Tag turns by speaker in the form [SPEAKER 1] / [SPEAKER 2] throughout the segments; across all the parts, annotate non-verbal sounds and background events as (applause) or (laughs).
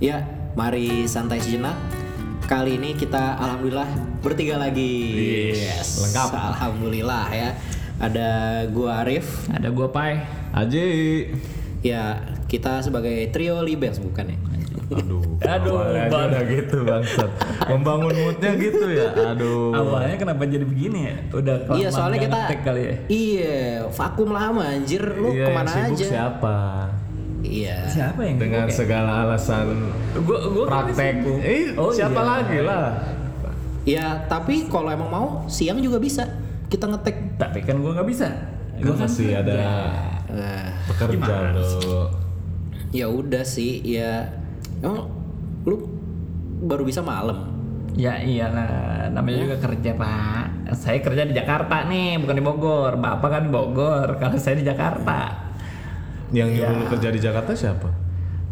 [SPEAKER 1] Ya, mari santai sejenak. Kali ini kita alhamdulillah bertiga lagi.
[SPEAKER 2] Yes, lengkap.
[SPEAKER 1] Alhamdulillah ya. Ada gua Arif.
[SPEAKER 2] Ada gua Pai. Aji.
[SPEAKER 1] Ya, kita sebagai trio libers bukan ya?
[SPEAKER 3] Aduh,
[SPEAKER 2] Aduh,
[SPEAKER 3] awalnya aja
[SPEAKER 2] Bang.
[SPEAKER 3] udah gitu bangsat. Membangun moodnya gitu ya. Aduh.
[SPEAKER 2] Awalnya kenapa jadi begini ya? Udah
[SPEAKER 1] Iya,
[SPEAKER 2] kelamaan
[SPEAKER 1] soalnya
[SPEAKER 2] nggak
[SPEAKER 1] kita
[SPEAKER 2] ngetek kali ya.
[SPEAKER 1] Iya, vakum lama anjir lu
[SPEAKER 3] Iya, yang
[SPEAKER 1] kemana
[SPEAKER 3] sibuk
[SPEAKER 1] aja?
[SPEAKER 3] Siapa?
[SPEAKER 2] Eh,
[SPEAKER 1] Iya.
[SPEAKER 2] Siapa yang
[SPEAKER 3] Dengan
[SPEAKER 2] sibuk ya?
[SPEAKER 3] segala alasan
[SPEAKER 2] gua gua kan
[SPEAKER 3] praktek.
[SPEAKER 2] sibuk.
[SPEAKER 3] Eh,
[SPEAKER 2] Oh,
[SPEAKER 3] siapa
[SPEAKER 2] iya.
[SPEAKER 3] lagi lah?
[SPEAKER 1] Ya, tapi kalau emang mau siang juga bisa. Kita ngetek.
[SPEAKER 2] Tapi kan gua nggak bisa.
[SPEAKER 3] Kan masih ada
[SPEAKER 1] Nah,
[SPEAKER 3] pekerja lo.
[SPEAKER 1] ya udah sih, ya. Emang lu baru bisa malam.
[SPEAKER 2] Ya iyalah, namanya juga kerja pak. Saya kerja di Jakarta nih, bukan di Bogor. Bapak kan di Bogor, kalau saya di Jakarta.
[SPEAKER 3] Yang
[SPEAKER 2] Iya.
[SPEAKER 3] nyuruh lu kerja di Jakarta siapa?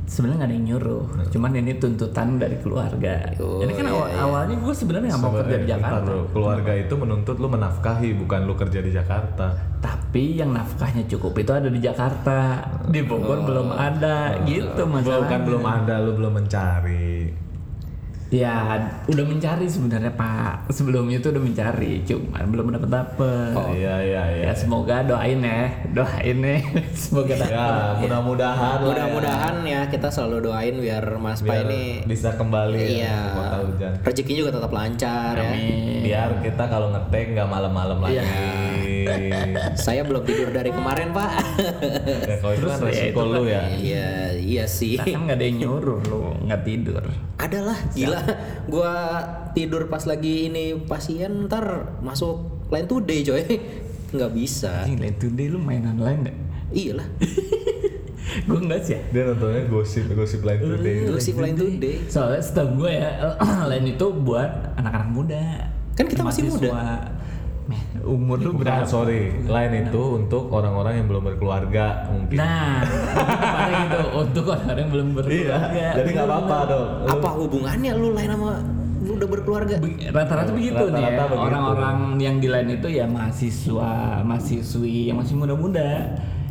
[SPEAKER 2] Sebenarnya nggak ada yang nyuruh, cuman ini tuntutan dari keluarga.
[SPEAKER 1] Oh,
[SPEAKER 2] Jadi kan
[SPEAKER 1] iya,
[SPEAKER 2] aw-
[SPEAKER 1] iya.
[SPEAKER 2] awalnya gue sebenarnya nggak mau kerja
[SPEAKER 3] Eh,
[SPEAKER 2] di
[SPEAKER 3] bentar,
[SPEAKER 2] Jakarta.
[SPEAKER 3] bro. Keluarga itu menuntut lu menafkahi bukan lu kerja di Jakarta.
[SPEAKER 2] Tapi yang nafkahnya cukup itu ada di Jakarta, di
[SPEAKER 1] Oh.
[SPEAKER 2] Bogor belum ada, gitu masalahnya.
[SPEAKER 1] kan.
[SPEAKER 3] Bukan belum ada, lu belum mencari.
[SPEAKER 2] Ya, udah mencari sebenarnya Pak. Sebelumnya itu udah mencari, cuman belum dapat dapet.
[SPEAKER 1] Oh,
[SPEAKER 3] Iya, iya, iya.
[SPEAKER 2] Ya semoga doain ya, doain ya, semoga dapet.
[SPEAKER 3] Ya, mudah-mudahan lah ya.
[SPEAKER 1] Mudah-mudahan ya kita selalu doain biar Mas Pai
[SPEAKER 3] biar
[SPEAKER 1] ini
[SPEAKER 3] bisa kembali ya
[SPEAKER 1] iya
[SPEAKER 3] ke kota hujan.
[SPEAKER 1] rezekinya juga tetap lancar ya.
[SPEAKER 3] Biar kita kalau ngetek nggak malam-malam lagi.
[SPEAKER 1] Saya belum tidur dari kemarin, Pak.
[SPEAKER 3] ya, kalau itu kan
[SPEAKER 2] Terus ya,
[SPEAKER 3] resiko
[SPEAKER 2] itu
[SPEAKER 3] lu ya.
[SPEAKER 1] Iya, iya sih.
[SPEAKER 2] Kita kan nggak ada yang nyuruh lu nggak tidur.
[SPEAKER 1] Adalah gila. Gua tidur pas lagi ini pasien ntar masuk lain today, coy. Nggak bisa.
[SPEAKER 2] Anjing, lain today lu main online nggak?
[SPEAKER 1] Iyalah.
[SPEAKER 2] gue nggak sih. ya.
[SPEAKER 3] Dia nontonnya gosip-gosip lain today.
[SPEAKER 1] Lu sih lain today.
[SPEAKER 2] Soalnya setahu gue ya, (clears throat) lain itu buat anak-anak muda.
[SPEAKER 1] Kan kita masih muda.
[SPEAKER 2] Mahasiswa. Meh, umur lu
[SPEAKER 3] Bukan,
[SPEAKER 2] berapa?
[SPEAKER 3] sorry. Lain itu untuk orang-orang yang belum berkeluarga mungkin.
[SPEAKER 2] Nah, kemarin gitu untuk orang yang belum
[SPEAKER 3] iya.
[SPEAKER 2] berkeluarga.
[SPEAKER 3] Jadi nggak apa-apa dong. Lu-
[SPEAKER 1] Apa hubungannya lu lain sama lu udah berkeluarga?
[SPEAKER 2] Be- rata-rata begitu nih
[SPEAKER 3] Rata-rata
[SPEAKER 2] ya.
[SPEAKER 3] begitu.
[SPEAKER 2] orang-orang yang di lain itu ya mahasiswa, mahasiswi yang masih muda-muda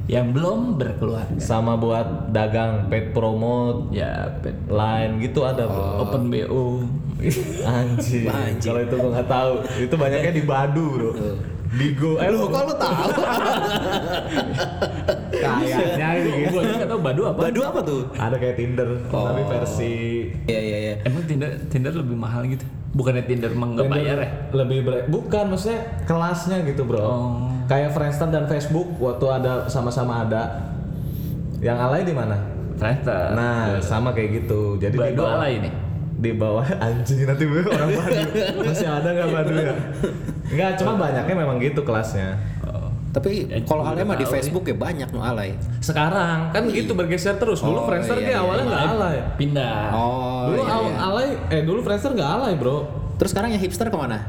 [SPEAKER 2] yang belum berkeluarga.
[SPEAKER 3] Sama buat dagang pet promote
[SPEAKER 2] Ya pet-
[SPEAKER 3] lain gitu ada bro.
[SPEAKER 2] open BO.
[SPEAKER 3] Anjing.
[SPEAKER 1] Anjing.
[SPEAKER 3] Kalau itu gua nggak tahu. Itu banyaknya di Badu, Bro. Di Go. Eh lu
[SPEAKER 1] Kok lu tahu?
[SPEAKER 3] kayaknya gitu.
[SPEAKER 2] Gue nggak tahu badu apa.
[SPEAKER 1] Badu apa tuh?
[SPEAKER 3] Ada kayak Tinder, tapi versi
[SPEAKER 1] Iya, iya, iya.
[SPEAKER 2] Emang Tinder Tinder lebih mahal gitu? Bukannya Tinder emang nggak bayar ya?
[SPEAKER 3] lebih ber- bukan maksudnya kelasnya gitu, Bro. Kayak Friendster dan Facebook waktu ada sama-sama ada. Yang alay di mana?
[SPEAKER 2] Ternyata.
[SPEAKER 3] Nah, sama kayak gitu. Jadi di
[SPEAKER 2] Badu
[SPEAKER 3] bawah
[SPEAKER 2] ala ini.
[SPEAKER 3] di bawah (laughs) anjing nanti gue orang Badu. Masih ada nggak Badu ya? Enggak, cuma banyaknya memang gitu kelasnya.
[SPEAKER 1] Tapi kalau halnya mah di Facebook Eh, ya banyak nu alay.
[SPEAKER 3] Sekarang kan gitu bergeser terus. Dulu
[SPEAKER 1] Oh,
[SPEAKER 3] Friendster
[SPEAKER 1] iya,
[SPEAKER 3] dia awalnya nggak alay.
[SPEAKER 2] Pindah.
[SPEAKER 1] Oh,
[SPEAKER 3] dulu
[SPEAKER 1] iya,
[SPEAKER 3] aw-
[SPEAKER 1] iya.
[SPEAKER 3] alay, eh dulu Friendster nggak alay bro.
[SPEAKER 1] Terus sekarang yang hipster kemana?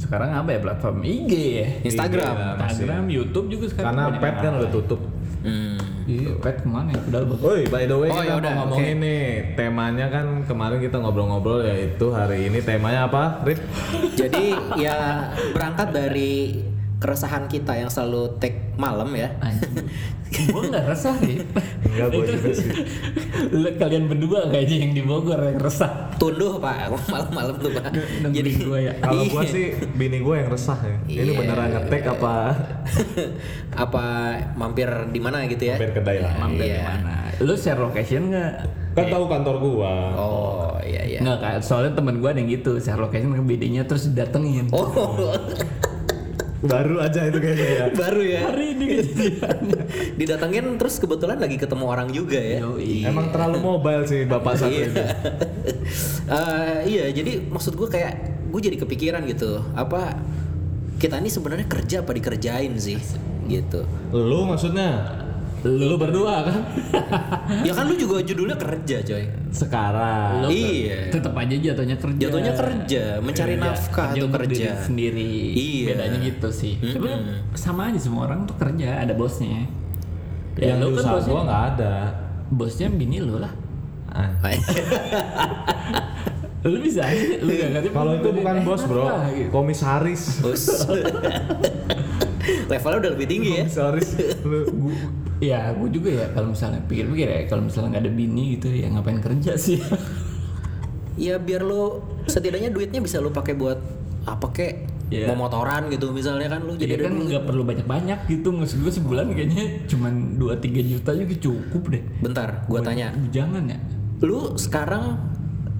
[SPEAKER 2] Sekarang apa ya platform IG ya?
[SPEAKER 1] Instagram.
[SPEAKER 3] Iya, masih.
[SPEAKER 2] Instagram, YouTube juga sekarang.
[SPEAKER 3] Karena
[SPEAKER 2] banyak
[SPEAKER 3] pet Gitu.
[SPEAKER 2] yang
[SPEAKER 3] kan
[SPEAKER 2] alay.
[SPEAKER 3] udah tutup.
[SPEAKER 1] Hmm.
[SPEAKER 2] Iya, pet kemana? ya? Udah bagus.
[SPEAKER 3] Woi, by the way
[SPEAKER 1] Oh,
[SPEAKER 3] kita
[SPEAKER 1] yaudah,
[SPEAKER 3] mau ngomongin nih temanya kan kemarin kita ngobrol-ngobrol yaitu hari ini temanya apa? Rip?
[SPEAKER 1] Jadi ya berangkat dari keresahan kita yang selalu take malam ya.
[SPEAKER 2] (laughs) gue nggak resah nih
[SPEAKER 3] Enggak, gua juga sih.
[SPEAKER 2] (laughs) Lu kalian berdua kayaknya yang di Bogor yang resah
[SPEAKER 1] Tunduh Pak, (laughs) malam-malam tuh Pak.
[SPEAKER 2] Nungguin gua ya.
[SPEAKER 3] Kalau gua
[SPEAKER 1] Iya.
[SPEAKER 3] sih bini gua yang resah ya. Ini
[SPEAKER 1] Iya.
[SPEAKER 3] beneran ngetek apa
[SPEAKER 1] (laughs) apa mampir di mana gitu ya?
[SPEAKER 3] hampir kedai lah.
[SPEAKER 2] mampir
[SPEAKER 1] Iya.
[SPEAKER 2] di mana lu share location nggak
[SPEAKER 3] Kan tahu kantor gua.
[SPEAKER 1] Oh, iya iya.
[SPEAKER 2] nggak kayak soalnya temen gue ada yang gitu share location ke bidinya terus datengin
[SPEAKER 1] Oh, (laughs)
[SPEAKER 3] Baru aja itu kayaknya ya.
[SPEAKER 1] baru ya.
[SPEAKER 2] hari ini kejadiannya
[SPEAKER 1] (laughs) Didatengin terus kebetulan lagi ketemu orang juga ya.
[SPEAKER 2] (laughs) Yoi.
[SPEAKER 3] Emang terlalu mobile sih bapak satu
[SPEAKER 1] Iya.
[SPEAKER 3] ini.
[SPEAKER 1] Eh, iya, jadi maksud gue kayak gue jadi kepikiran gitu. Apa kita ini sebenarnya kerja apa dikerjain sih? Gitu.
[SPEAKER 3] Lu maksudnya? Lu berdua
[SPEAKER 2] (laughs)
[SPEAKER 3] kan?
[SPEAKER 1] Ya kan lu juga judulnya kerja, coy.
[SPEAKER 3] Sekarang.
[SPEAKER 1] iya.
[SPEAKER 2] tetap aja jatuhnya kerja
[SPEAKER 1] Jatuhnya kerja, mencari nafkah tuh
[SPEAKER 2] Iya. Kerja untuk
[SPEAKER 1] kerja.
[SPEAKER 2] Iya, diri sendiri
[SPEAKER 1] Iya.
[SPEAKER 2] bedanya gitu sih tapi sama aja semua orang tuh kerja ada bosnya ya
[SPEAKER 3] yang
[SPEAKER 2] lu
[SPEAKER 3] di
[SPEAKER 2] kan
[SPEAKER 3] usaha
[SPEAKER 2] bosnya
[SPEAKER 3] gua nggak ada.
[SPEAKER 2] bosnya bini lu lah
[SPEAKER 3] Ah.
[SPEAKER 2] (laughs) lu bisa aja, lu (laughs) gak ngerti gitu.
[SPEAKER 1] gitu.
[SPEAKER 3] Kalau itu bukan bos bro, komisaris.
[SPEAKER 1] Us. levelnya udah lebih tinggi ya
[SPEAKER 3] Sorry. Lu
[SPEAKER 2] Gua- ya gue juga ya kalau misalnya pikir-pikir ya kalau misalnya nggak ada bini gitu ya ngapain kerja sih
[SPEAKER 1] ya biar lo setidaknya duitnya bisa lo pakai buat apa kek
[SPEAKER 2] Iya.
[SPEAKER 1] mau motoran gitu misalnya kan lo (laughs) jadi
[SPEAKER 2] jadi
[SPEAKER 1] ada
[SPEAKER 2] kan
[SPEAKER 1] duit.
[SPEAKER 2] nggak perlu banyak-banyak gitu maksud gue sebulan kayaknya cuman 2-3 juta juga cukup deh
[SPEAKER 1] bentar gua tanya
[SPEAKER 2] jangan ya
[SPEAKER 1] lu sekarang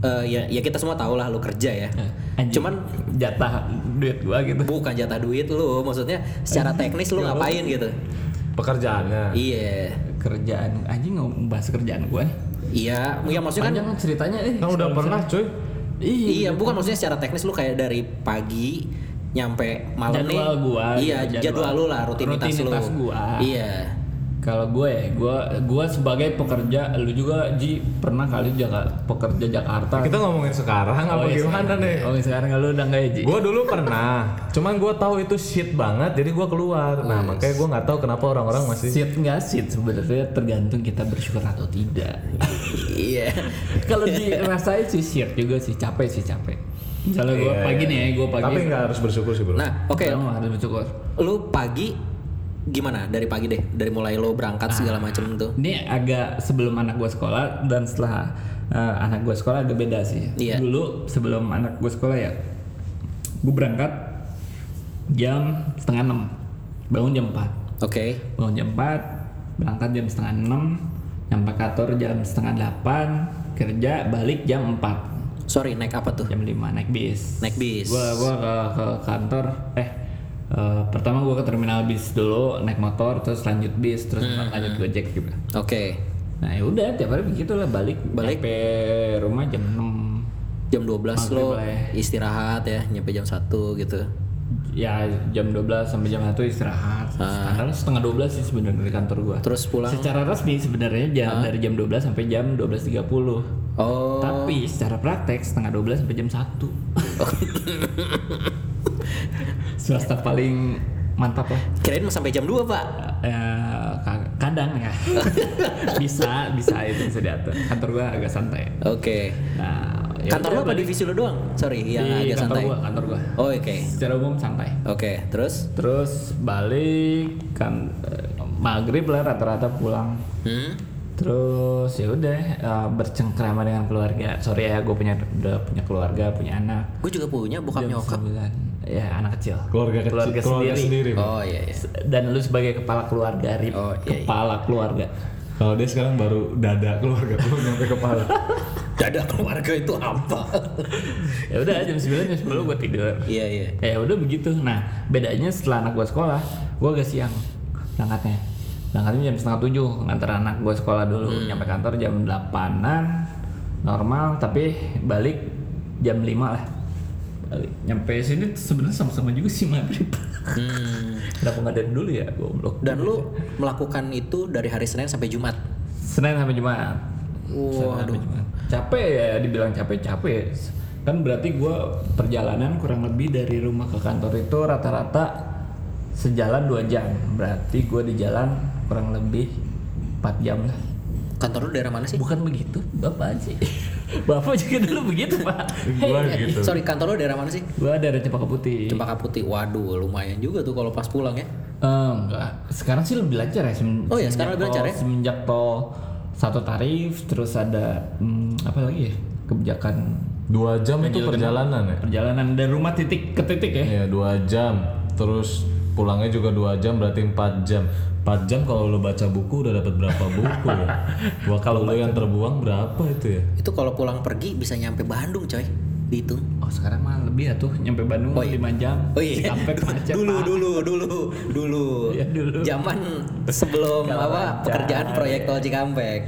[SPEAKER 1] eh, ya ya kita semua tahu lah lu kerja ya
[SPEAKER 2] Anjing,
[SPEAKER 1] cuman
[SPEAKER 2] jatah duit gue gitu
[SPEAKER 1] bukan jatah duit lu maksudnya
[SPEAKER 2] Eh.
[SPEAKER 1] secara teknis
[SPEAKER 2] Iya,
[SPEAKER 1] lu ngapain gitu
[SPEAKER 3] pekerjaannya.
[SPEAKER 1] iya
[SPEAKER 2] kerjaan anjing ngebahas kerjaan gue nih
[SPEAKER 1] iya ya maksudnya kan
[SPEAKER 2] panjang ceritanya eh
[SPEAKER 3] Kan udah
[SPEAKER 2] kalau
[SPEAKER 3] pernah,
[SPEAKER 2] misalnya-
[SPEAKER 3] cuy.
[SPEAKER 2] iya
[SPEAKER 1] iya bukan maksudnya secara teknis lu kayak dari pagi nyampe malam nih
[SPEAKER 2] Jadwal gua,
[SPEAKER 1] iya
[SPEAKER 2] jadwal.
[SPEAKER 1] jadwal, lu lah rutinitas,
[SPEAKER 2] Rutinitas
[SPEAKER 1] lu
[SPEAKER 2] gua.
[SPEAKER 1] iya
[SPEAKER 2] Kalau gue ya, gue gue sebagai pekerja, lu juga Ji pernah kali jaga pekerja Jakarta.
[SPEAKER 3] Kita ngomongin sekarang apa
[SPEAKER 2] iya,
[SPEAKER 3] gimana
[SPEAKER 2] sekarang.
[SPEAKER 3] nih?
[SPEAKER 2] Oh iya, sekarang lu udah nggak ya Ji?
[SPEAKER 3] Gue dulu pernah, cuman gue tahu itu shit banget, jadi gue keluar. Nah makanya gue nggak tahu kenapa orang-orang masih.
[SPEAKER 2] Sit nggak sit sebenarnya tergantung kita bersyukur atau
[SPEAKER 3] (laughs)
[SPEAKER 2] tidak.
[SPEAKER 1] iya
[SPEAKER 2] Kalau dirasain sih sit juga sih capek sih capek. Misalnya gue
[SPEAKER 3] Iya,
[SPEAKER 2] pagi
[SPEAKER 3] iya.
[SPEAKER 2] nih, gue pagi.
[SPEAKER 3] Tapi nggak harus bersyukur sih bro.
[SPEAKER 1] nah oke
[SPEAKER 2] Kamu harus bersyukur.
[SPEAKER 1] lu pagi gimana dari pagi deh dari mulai lu berangkat segala
[SPEAKER 2] Ah.
[SPEAKER 1] macem tuh
[SPEAKER 2] Ini agak sebelum anak gue sekolah dan setelah eh, anak gue sekolah agak beda sih.
[SPEAKER 1] Iya.
[SPEAKER 2] Dulu sebelum anak gue sekolah ya, gue berangkat jam setengah enam, bangun jam 4
[SPEAKER 1] oke
[SPEAKER 2] bangun jam 4 berangkat jam setengah enam, nyampe kantor jam setengah delapan, kerja balik jam 4
[SPEAKER 1] sorry naik apa tuh
[SPEAKER 2] jam 5 naik bis.
[SPEAKER 1] Naik bis.
[SPEAKER 2] Gua gua ke, ke kantor eh eh, pertama gua ke terminal bis dulu naik motor terus lanjut bis terus
[SPEAKER 1] Hmm.
[SPEAKER 2] lanjut gojek juga.
[SPEAKER 1] oke
[SPEAKER 2] Nah ya udah tiap hari begitulah balik
[SPEAKER 1] Balik.
[SPEAKER 2] nyampe rumah jam 6
[SPEAKER 1] jam 12 lo
[SPEAKER 2] Maghrib lah
[SPEAKER 1] istirahat ya nyampe jam 1 gitu
[SPEAKER 2] ya jam 12 sampai jam 1 istirahat. Standar setengah 12 sih sebenarnya dari kantor gua.
[SPEAKER 1] Ah. terus pulang Ah.
[SPEAKER 2] Secara resmi sebenarnya jam dari jam 12 sampai jam 12.30.
[SPEAKER 1] oh
[SPEAKER 2] Tapi secara praktek setengah 12 sampai jam 1. (laughs) Swasta paling mantap lah.
[SPEAKER 1] kirain mau sampai jam 2 pak
[SPEAKER 2] Eh, ka- kadang
[SPEAKER 1] (laughs)
[SPEAKER 2] ya bisa bisa itu bisa diatur kantor gua agak santai
[SPEAKER 1] oke
[SPEAKER 2] nah ya
[SPEAKER 1] kantor lo
[SPEAKER 2] udah,
[SPEAKER 1] apa
[SPEAKER 2] balik.
[SPEAKER 1] divisi lo doang sorry yang
[SPEAKER 2] Di
[SPEAKER 1] agak Iya,
[SPEAKER 2] kantor
[SPEAKER 1] santai
[SPEAKER 2] gua kantor gua
[SPEAKER 1] oh oke
[SPEAKER 2] secara umum santai
[SPEAKER 1] oke terus
[SPEAKER 2] terus balik kan eh, maghrib lah rata-rata pulang
[SPEAKER 1] hmm?
[SPEAKER 2] terus ya udah eh, bercengkrama dengan keluarga sorry ya gue punya udah punya keluarga punya anak
[SPEAKER 1] gue juga punya bokap
[SPEAKER 2] Jam
[SPEAKER 1] nyokap
[SPEAKER 2] 9. ya anak kecil
[SPEAKER 3] keluarga kecil, keluarga, sendiri. Bro.
[SPEAKER 1] oh iya iya
[SPEAKER 2] dan lu sebagai kepala keluarga Rip
[SPEAKER 1] Oh, iya, iya.
[SPEAKER 2] kepala keluarga
[SPEAKER 3] Kalau dia sekarang baru dada keluarga, belum nyampe kepala.
[SPEAKER 1] (laughs) dada keluarga itu apa
[SPEAKER 2] (laughs) ya udah jam 9 jam 10 gue tidur
[SPEAKER 1] iya iya
[SPEAKER 2] ya udah begitu nah bedanya setelah anak gue sekolah gue agak siang berangkatnya berangkatnya jam setengah tujuh ngantar anak gue sekolah dulu nyampe kantor jam delapanan normal tapi balik jam lima lah balik nyampe sini sebenarnya sama-sama juga sih maghrib
[SPEAKER 1] hmm.
[SPEAKER 2] (laughs) kenapa nggak dari dulu ya goblok
[SPEAKER 1] dan lu melakukan itu dari hari senin sampai jumat
[SPEAKER 2] senin sampai jumat Senin
[SPEAKER 1] Waduh.
[SPEAKER 2] sampai Jumat. capek ya dibilang capek capek kan berarti gue perjalanan kurang lebih dari rumah ke kantor itu rata-rata sejalan dua jam berarti gue di jalan kurang lebih 4 jam lah
[SPEAKER 1] kantor lu daerah mana sih
[SPEAKER 2] bukan begitu bapak sih (laughs) bapak juga dulu begitu pak
[SPEAKER 3] Gua
[SPEAKER 1] Eh,
[SPEAKER 3] gitu.
[SPEAKER 1] sorry kantor lu daerah mana sih
[SPEAKER 2] gue dari Cempaka Putih
[SPEAKER 1] Cempaka Putih. Waduh, lumayan juga tuh kalau pas pulang ya.
[SPEAKER 2] Eh, enggak. Sekarang sih lebih lancar ya. semen-
[SPEAKER 1] Oh iya, sekarang lebih
[SPEAKER 2] semenjak
[SPEAKER 1] lancar
[SPEAKER 2] tol-
[SPEAKER 1] ya?
[SPEAKER 2] Semenjak tol satu tarif, terus ada hmm, apa lagi ya? Kebijakan
[SPEAKER 3] Dua jam itu perjalanan ya?
[SPEAKER 2] perjalanan dari rumah titik ke titik ya.
[SPEAKER 3] Iya dua jam, terus pulangnya juga dua jam berarti empat jam. Empat jam kalau lo baca buku udah dapat berapa buku ya? kalau lo yang terbuang berapa itu ya?
[SPEAKER 1] Itu kalau pulang pergi bisa nyampe Bandung, coy. Dihitung.
[SPEAKER 2] Oh sekarang mah lebih ya tuh nyampe Bandung
[SPEAKER 1] Oh iya.
[SPEAKER 2] 5 jam.
[SPEAKER 1] Oh iya.
[SPEAKER 2] (laughs)
[SPEAKER 1] (laughs)
[SPEAKER 2] Sampai macet.
[SPEAKER 1] dulu,
[SPEAKER 2] Pak.
[SPEAKER 1] dulu, dulu, dulu.
[SPEAKER 2] Iya, dulu.
[SPEAKER 1] Zaman sebelum
[SPEAKER 2] Kalau
[SPEAKER 1] apa
[SPEAKER 2] lancar,
[SPEAKER 1] pekerjaan proyek
[SPEAKER 2] iya.
[SPEAKER 1] tol Cikampek.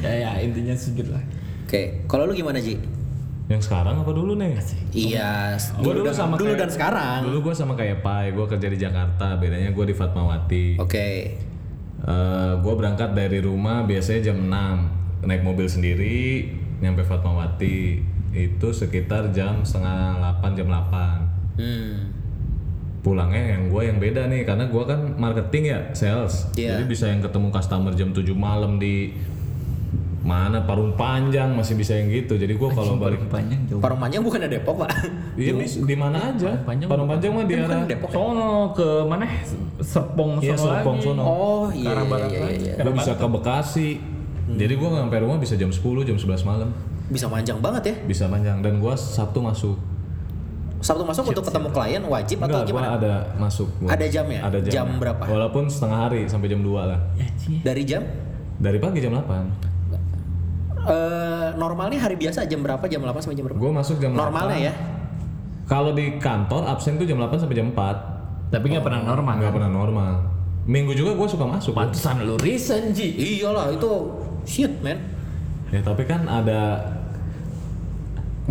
[SPEAKER 2] Ya, ya intinya segitu lah.
[SPEAKER 1] (laughs) Oke, kalau lu gimana, Ji?
[SPEAKER 3] Yang sekarang apa dulu nih?
[SPEAKER 1] Iya,
[SPEAKER 3] Gua
[SPEAKER 1] dulu, dan, dulu
[SPEAKER 3] kayak-
[SPEAKER 1] dan sekarang.
[SPEAKER 3] Dulu gue sama kayak Pai, gue kerja di Jakarta, bedanya gue di Fatmawati.
[SPEAKER 1] Oke.
[SPEAKER 3] gue berangkat dari rumah biasanya jam 6 naik mobil sendiri nyampe Fatmawati itu sekitar jam setengah 8 jam 8
[SPEAKER 1] Hmm.
[SPEAKER 3] pulangnya yang gue yang beda nih karena gue kan marketing ya sales
[SPEAKER 1] Iya.
[SPEAKER 3] jadi bisa yang ketemu customer jam 7 malam di Mana parung panjang masih bisa yang gitu. Jadi gua kalau balik
[SPEAKER 2] panjang jauh.
[SPEAKER 1] Parung panjang bukan ada Depok pak?
[SPEAKER 3] Iya bis- di mana aja?
[SPEAKER 2] Parung panjang
[SPEAKER 3] Parung panjang mah di
[SPEAKER 1] Kan bukan
[SPEAKER 3] arah
[SPEAKER 1] Depok. ya?
[SPEAKER 2] Sono ke mana? Serpong
[SPEAKER 3] Iya,
[SPEAKER 2] sono
[SPEAKER 3] Serpong
[SPEAKER 2] lagi.
[SPEAKER 3] sono.
[SPEAKER 1] Oh iya
[SPEAKER 2] Arah
[SPEAKER 1] iya,
[SPEAKER 2] barat
[SPEAKER 1] iya,
[SPEAKER 2] lagi.
[SPEAKER 1] iya.
[SPEAKER 3] Gua bisa ke Bekasi.
[SPEAKER 1] Hmm.
[SPEAKER 3] Jadi gua nggak sampai rumah bisa jam 10, jam 11 malam.
[SPEAKER 1] Bisa panjang banget ya.
[SPEAKER 3] Bisa panjang dan gua Sabtu masuk.
[SPEAKER 1] Sabtu masuk untuk ketemu klien wajib atau
[SPEAKER 3] Enggak,
[SPEAKER 1] gimana?
[SPEAKER 3] gua ada masuk. Gua.
[SPEAKER 1] Ada jamnya?
[SPEAKER 3] Ada jamnya.
[SPEAKER 1] Jam berapa?
[SPEAKER 3] Walaupun setengah hari sampai jam 2 lah.
[SPEAKER 2] Anjing.
[SPEAKER 1] Dari jam?
[SPEAKER 3] Dari pagi jam 8.
[SPEAKER 1] eh, normalnya hari biasa jam berapa? Jam 8 sampai jam berapa?
[SPEAKER 3] Gua masuk jam 8.
[SPEAKER 1] Normalnya ya.
[SPEAKER 3] Kalau di kantor absen tuh jam 8 sampai jam 4.
[SPEAKER 2] Tapi nggak pernah normal. kan?
[SPEAKER 3] Nggak pernah normal. Minggu juga gua suka masuk. Gua.
[SPEAKER 2] Pantesan lu resign Ji.
[SPEAKER 1] Iyalah itu shit man.
[SPEAKER 3] Ya tapi kan ada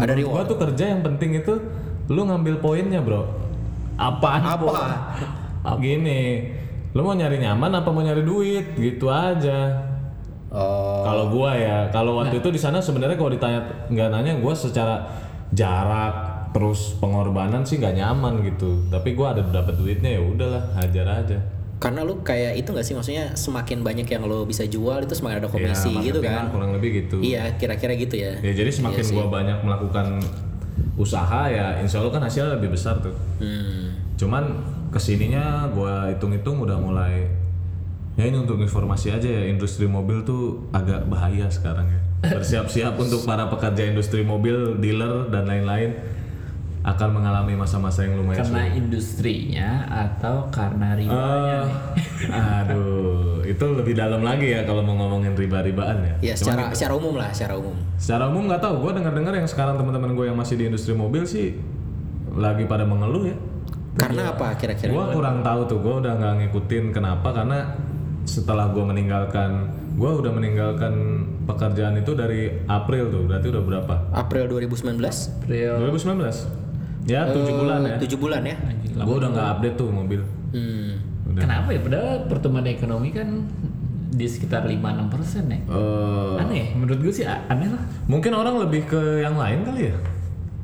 [SPEAKER 1] Ada
[SPEAKER 3] Gua
[SPEAKER 1] reward.
[SPEAKER 3] tuh kerja yang penting itu lu ngambil poinnya, Bro. Ah,
[SPEAKER 2] Apaan?
[SPEAKER 1] Apa?
[SPEAKER 3] Gini, lu mau nyari nyaman apa mau nyari duit? Gitu aja.
[SPEAKER 1] Oh,
[SPEAKER 3] Kalau gua ya, kalau
[SPEAKER 1] Nah.
[SPEAKER 3] waktu itu di sana sebenarnya kalau ditanya nggak nanya gua secara jarak terus pengorbanan sih nggak nyaman gitu. Tapi gua ada dapat duitnya ya udahlah, hajar aja.
[SPEAKER 1] karena lu kayak itu gak sih maksudnya semakin banyak yang lo bisa jual itu semakin ada
[SPEAKER 3] Ya,
[SPEAKER 1] komisi gitu
[SPEAKER 3] marketing lah,
[SPEAKER 1] kan?
[SPEAKER 3] Kurang lebih gitu.
[SPEAKER 1] Iya, kira-kira gitu ya.
[SPEAKER 3] Ya jadi semakin gua banyak melakukan usaha ya insya Allah kan hasilnya lebih besar tuh.
[SPEAKER 1] Hmm.
[SPEAKER 3] Cuman kesininya gua hitung-hitung udah mulai Ya ini untuk informasi aja ya industri mobil tuh agak bahaya sekarang ya. Bersiap-siap untuk para pekerja industri mobil, dealer dan lain-lain akan mengalami masa-masa yang lumayan
[SPEAKER 2] Karena industrinya atau karena riba?
[SPEAKER 3] Eh, aduh, itu lebih dalam lagi ya kalau mau ngomongin riba-ribaan
[SPEAKER 1] Ya
[SPEAKER 3] ya. Cuman
[SPEAKER 1] secara secara umum lah, secara umum.
[SPEAKER 3] Secara umum nggak tahu, gue dengar-dengar yang sekarang teman-teman gue yang masih di industri mobil sih lagi pada mengeluh ya.
[SPEAKER 1] Karena apa kira-kira?
[SPEAKER 3] Gue kurang tahu tuh, gue udah nggak ngikutin kenapa karena setelah gue meninggalkan, gue udah meninggalkan pekerjaan itu dari April tuh, berarti udah berapa?
[SPEAKER 1] April 2019?
[SPEAKER 2] April.
[SPEAKER 3] 2019. Ya
[SPEAKER 1] Eh,
[SPEAKER 3] tujuh bulan ya.
[SPEAKER 1] 7 bulan ya.
[SPEAKER 3] Gue udah nggak update tuh mobil.
[SPEAKER 1] Hmm.
[SPEAKER 3] Udah.
[SPEAKER 2] Kenapa ya? Padahal pertumbuhan ekonomi kan di sekitar 5-6 persen ya.
[SPEAKER 1] Oh.
[SPEAKER 3] Eh,
[SPEAKER 2] Aneh, menurut gue sih a- aneh lah.
[SPEAKER 3] mungkin orang lebih ke yang lain kali ya.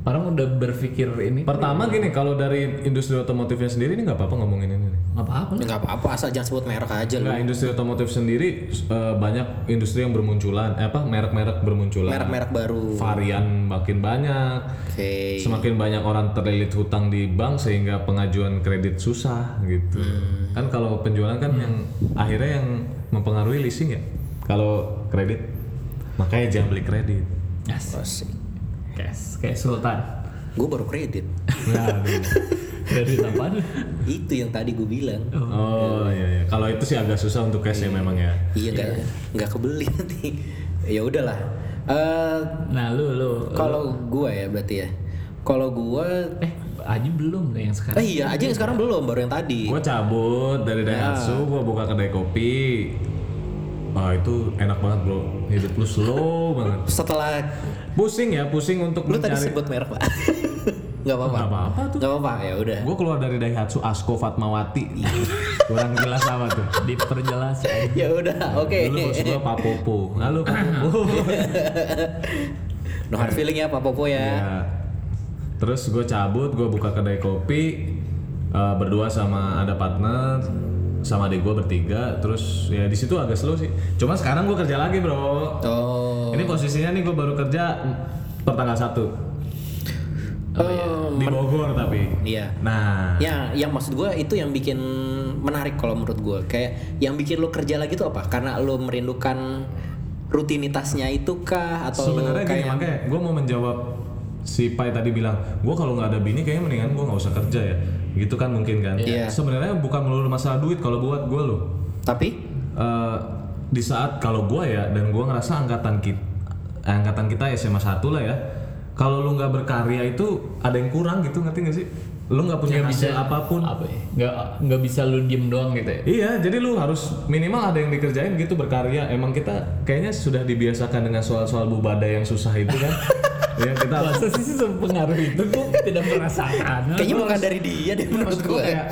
[SPEAKER 2] Orang udah berpikir ini
[SPEAKER 3] Pertama
[SPEAKER 1] Iya.
[SPEAKER 3] gini, kalau dari industri otomotifnya sendiri ini nggak apa-apa ngomongin ini. nih.
[SPEAKER 2] nggak apa-apa lah.
[SPEAKER 1] Enggak apa-apa asal jangan sebut merek aja lu.
[SPEAKER 3] Nah, industri otomotif sendiri eh, banyak industri yang bermunculan, eh, apa merek-merek bermunculan.
[SPEAKER 1] Merek-merek baru.
[SPEAKER 3] Varian makin banyak.
[SPEAKER 1] Oke.
[SPEAKER 3] Semakin banyak orang terlilit hutang di bank sehingga pengajuan kredit susah gitu.
[SPEAKER 1] Hmm.
[SPEAKER 3] Kan kalau penjualan kan yang akhirnya yang mempengaruhi leasing ya. Kalau kredit makanya jangan beli kredit.
[SPEAKER 2] Yes.
[SPEAKER 1] Asik.
[SPEAKER 2] Kayak, kayak sultan.
[SPEAKER 1] Gue baru
[SPEAKER 3] (laughs)
[SPEAKER 1] kredit. (laughs)
[SPEAKER 3] Nah, aduh.
[SPEAKER 2] Dari apaan?
[SPEAKER 1] Itu yang tadi gue bilang.
[SPEAKER 3] oh iya iya. Kalau itu sih agak susah untuk cash ya memang ya.
[SPEAKER 1] Iya enggak enggak kebeli (laughs) nanti. ya udahlah. Eh
[SPEAKER 2] Nah, lu lu
[SPEAKER 1] kalau gua ya berarti ya. Kalau gua
[SPEAKER 2] eh Aji belum deh yang
[SPEAKER 1] eh
[SPEAKER 2] sekarang.
[SPEAKER 1] iya aja yang sekarang belum baru yang tadi.
[SPEAKER 3] Gue cabut dari
[SPEAKER 1] Iya.
[SPEAKER 3] Daihatsu, gue buka kedai kopi. Wah itu enak banget bro, hidup lu slow banget.
[SPEAKER 1] Setelah
[SPEAKER 3] Pusing ya, pusing untuk
[SPEAKER 1] lu tadi
[SPEAKER 3] mencari.
[SPEAKER 1] sebut merek, Pak. (laughs) Enggak apa-apa.
[SPEAKER 3] Nggak apa-apa tuh.
[SPEAKER 1] Enggak apa-apa ya udah.
[SPEAKER 3] Gue keluar dari Daihatsu Asko Fatmawati. Kurang jelas sama tuh.
[SPEAKER 2] Diperjelas aja.
[SPEAKER 1] (laughs) Ya udah, oke. Iya.
[SPEAKER 3] Dulu bos gue Pak Popo. Halo Pak
[SPEAKER 1] (laughs)
[SPEAKER 3] Popo.
[SPEAKER 1] No hard feeling ya Pak Popo ya.
[SPEAKER 3] Ya. Terus gue cabut, gue buka kedai kopi eh, berdua sama ada partner sama adik gue bertiga. Terus ya di situ agak slow sih. Cuma sekarang gue kerja lagi bro.
[SPEAKER 1] Oh.
[SPEAKER 3] Ini posisinya nih gue baru kerja pertanggal 1 di Bogor tapi.
[SPEAKER 1] oh. Iya.
[SPEAKER 3] Nah,
[SPEAKER 1] Ya, yang maksud gue itu yang bikin menarik kalau menurut gue. Kayak yang bikin lo kerja lagi itu apa? Karena lo merindukan rutinitasnya itu kah? Atau lo
[SPEAKER 3] sebenarnya gini
[SPEAKER 1] kayak
[SPEAKER 3] makanya gue mau menjawab si Pai tadi bilang, gue kalau nggak ada bini kayaknya mendingan gue nggak usah kerja ya. Gitu kan mungkin kan?
[SPEAKER 1] Iya.
[SPEAKER 3] Sebenarnya bukan melulu masalah duit kalau buat gue loh.
[SPEAKER 1] tapi
[SPEAKER 3] Eh, di saat kalau gue ya dan gue ngerasa angkatan kita angkatan kita SMA 1 lah ya kalau lu nggak berkarya itu ada yang kurang gitu ngerti nggak sih lu nggak punya hasil apapun
[SPEAKER 2] Apa ya? Nggak nggak bisa lu diem doang gitu ya.
[SPEAKER 3] Iya, jadi lu harus minimal ada yang dikerjain gitu berkarya. Emang kita kayaknya sudah dibiasakan dengan soal-soal bubada yang susah itu
[SPEAKER 1] (laughs)
[SPEAKER 3] kan. Iya, kita harus-
[SPEAKER 2] Masa sih sepengaruh itu gue tidak merasakan.
[SPEAKER 1] kayaknya bukan dari dia deh menurut
[SPEAKER 3] maksud
[SPEAKER 1] gue.
[SPEAKER 3] gua kayak Iya.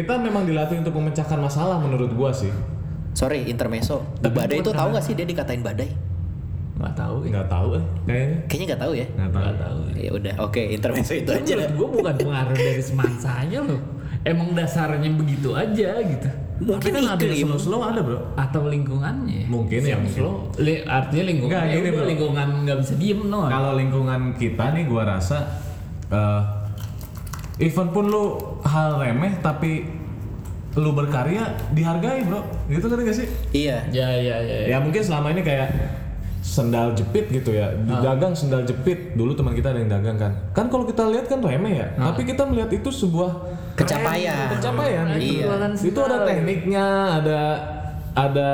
[SPEAKER 3] kita memang dilatih untuk memecahkan masalah menurut gua sih.
[SPEAKER 1] Sorry, intermeso. badai itu tahu gak sih dia dikatain badai?
[SPEAKER 2] Nggak tahu. ya.
[SPEAKER 3] Nggak tahu eh kayaknya.
[SPEAKER 1] Kayaknya nggak tahu ya.
[SPEAKER 3] Nggak tahu.
[SPEAKER 2] Nggak tahu.
[SPEAKER 1] Ya udah, oke intermeso itu aja.
[SPEAKER 2] Menurut gue bukan pengaruh dari semansanya loh. Emang dasarnya begitu aja gitu.
[SPEAKER 1] Mungkin ya.
[SPEAKER 3] Tapi kan ada yang
[SPEAKER 1] iklim.
[SPEAKER 3] slow slow ada bro.
[SPEAKER 2] atau lingkungannya ya?
[SPEAKER 3] Mungkin ya mungkin.
[SPEAKER 2] Li- artinya lingkungan
[SPEAKER 3] Nggak,
[SPEAKER 2] ya
[SPEAKER 3] gini,
[SPEAKER 2] udah,
[SPEAKER 3] Bro.
[SPEAKER 2] lingkungan nggak bisa diem no
[SPEAKER 3] Kalau lingkungan kita nih gua rasa eh event pun lu hal remeh tapi lu berkarya dihargai bro. Gitu kan gak sih?
[SPEAKER 1] Iya.
[SPEAKER 2] ya ya ya, ya.
[SPEAKER 3] Ya mungkin selama ini kayak sendal jepit gitu ya,
[SPEAKER 2] Ah.
[SPEAKER 3] dagang sendal jepit. Dulu teman kita ada yang dagang kan. Kan kalau kita lihat kan remeh ya,
[SPEAKER 2] Ah.
[SPEAKER 3] tapi kita melihat itu sebuah
[SPEAKER 1] Kecapaian.
[SPEAKER 3] pencapaian
[SPEAKER 1] Iya.
[SPEAKER 3] gitu.
[SPEAKER 2] Jualan
[SPEAKER 3] Itu ada
[SPEAKER 2] sendal.
[SPEAKER 3] tekniknya, ada ada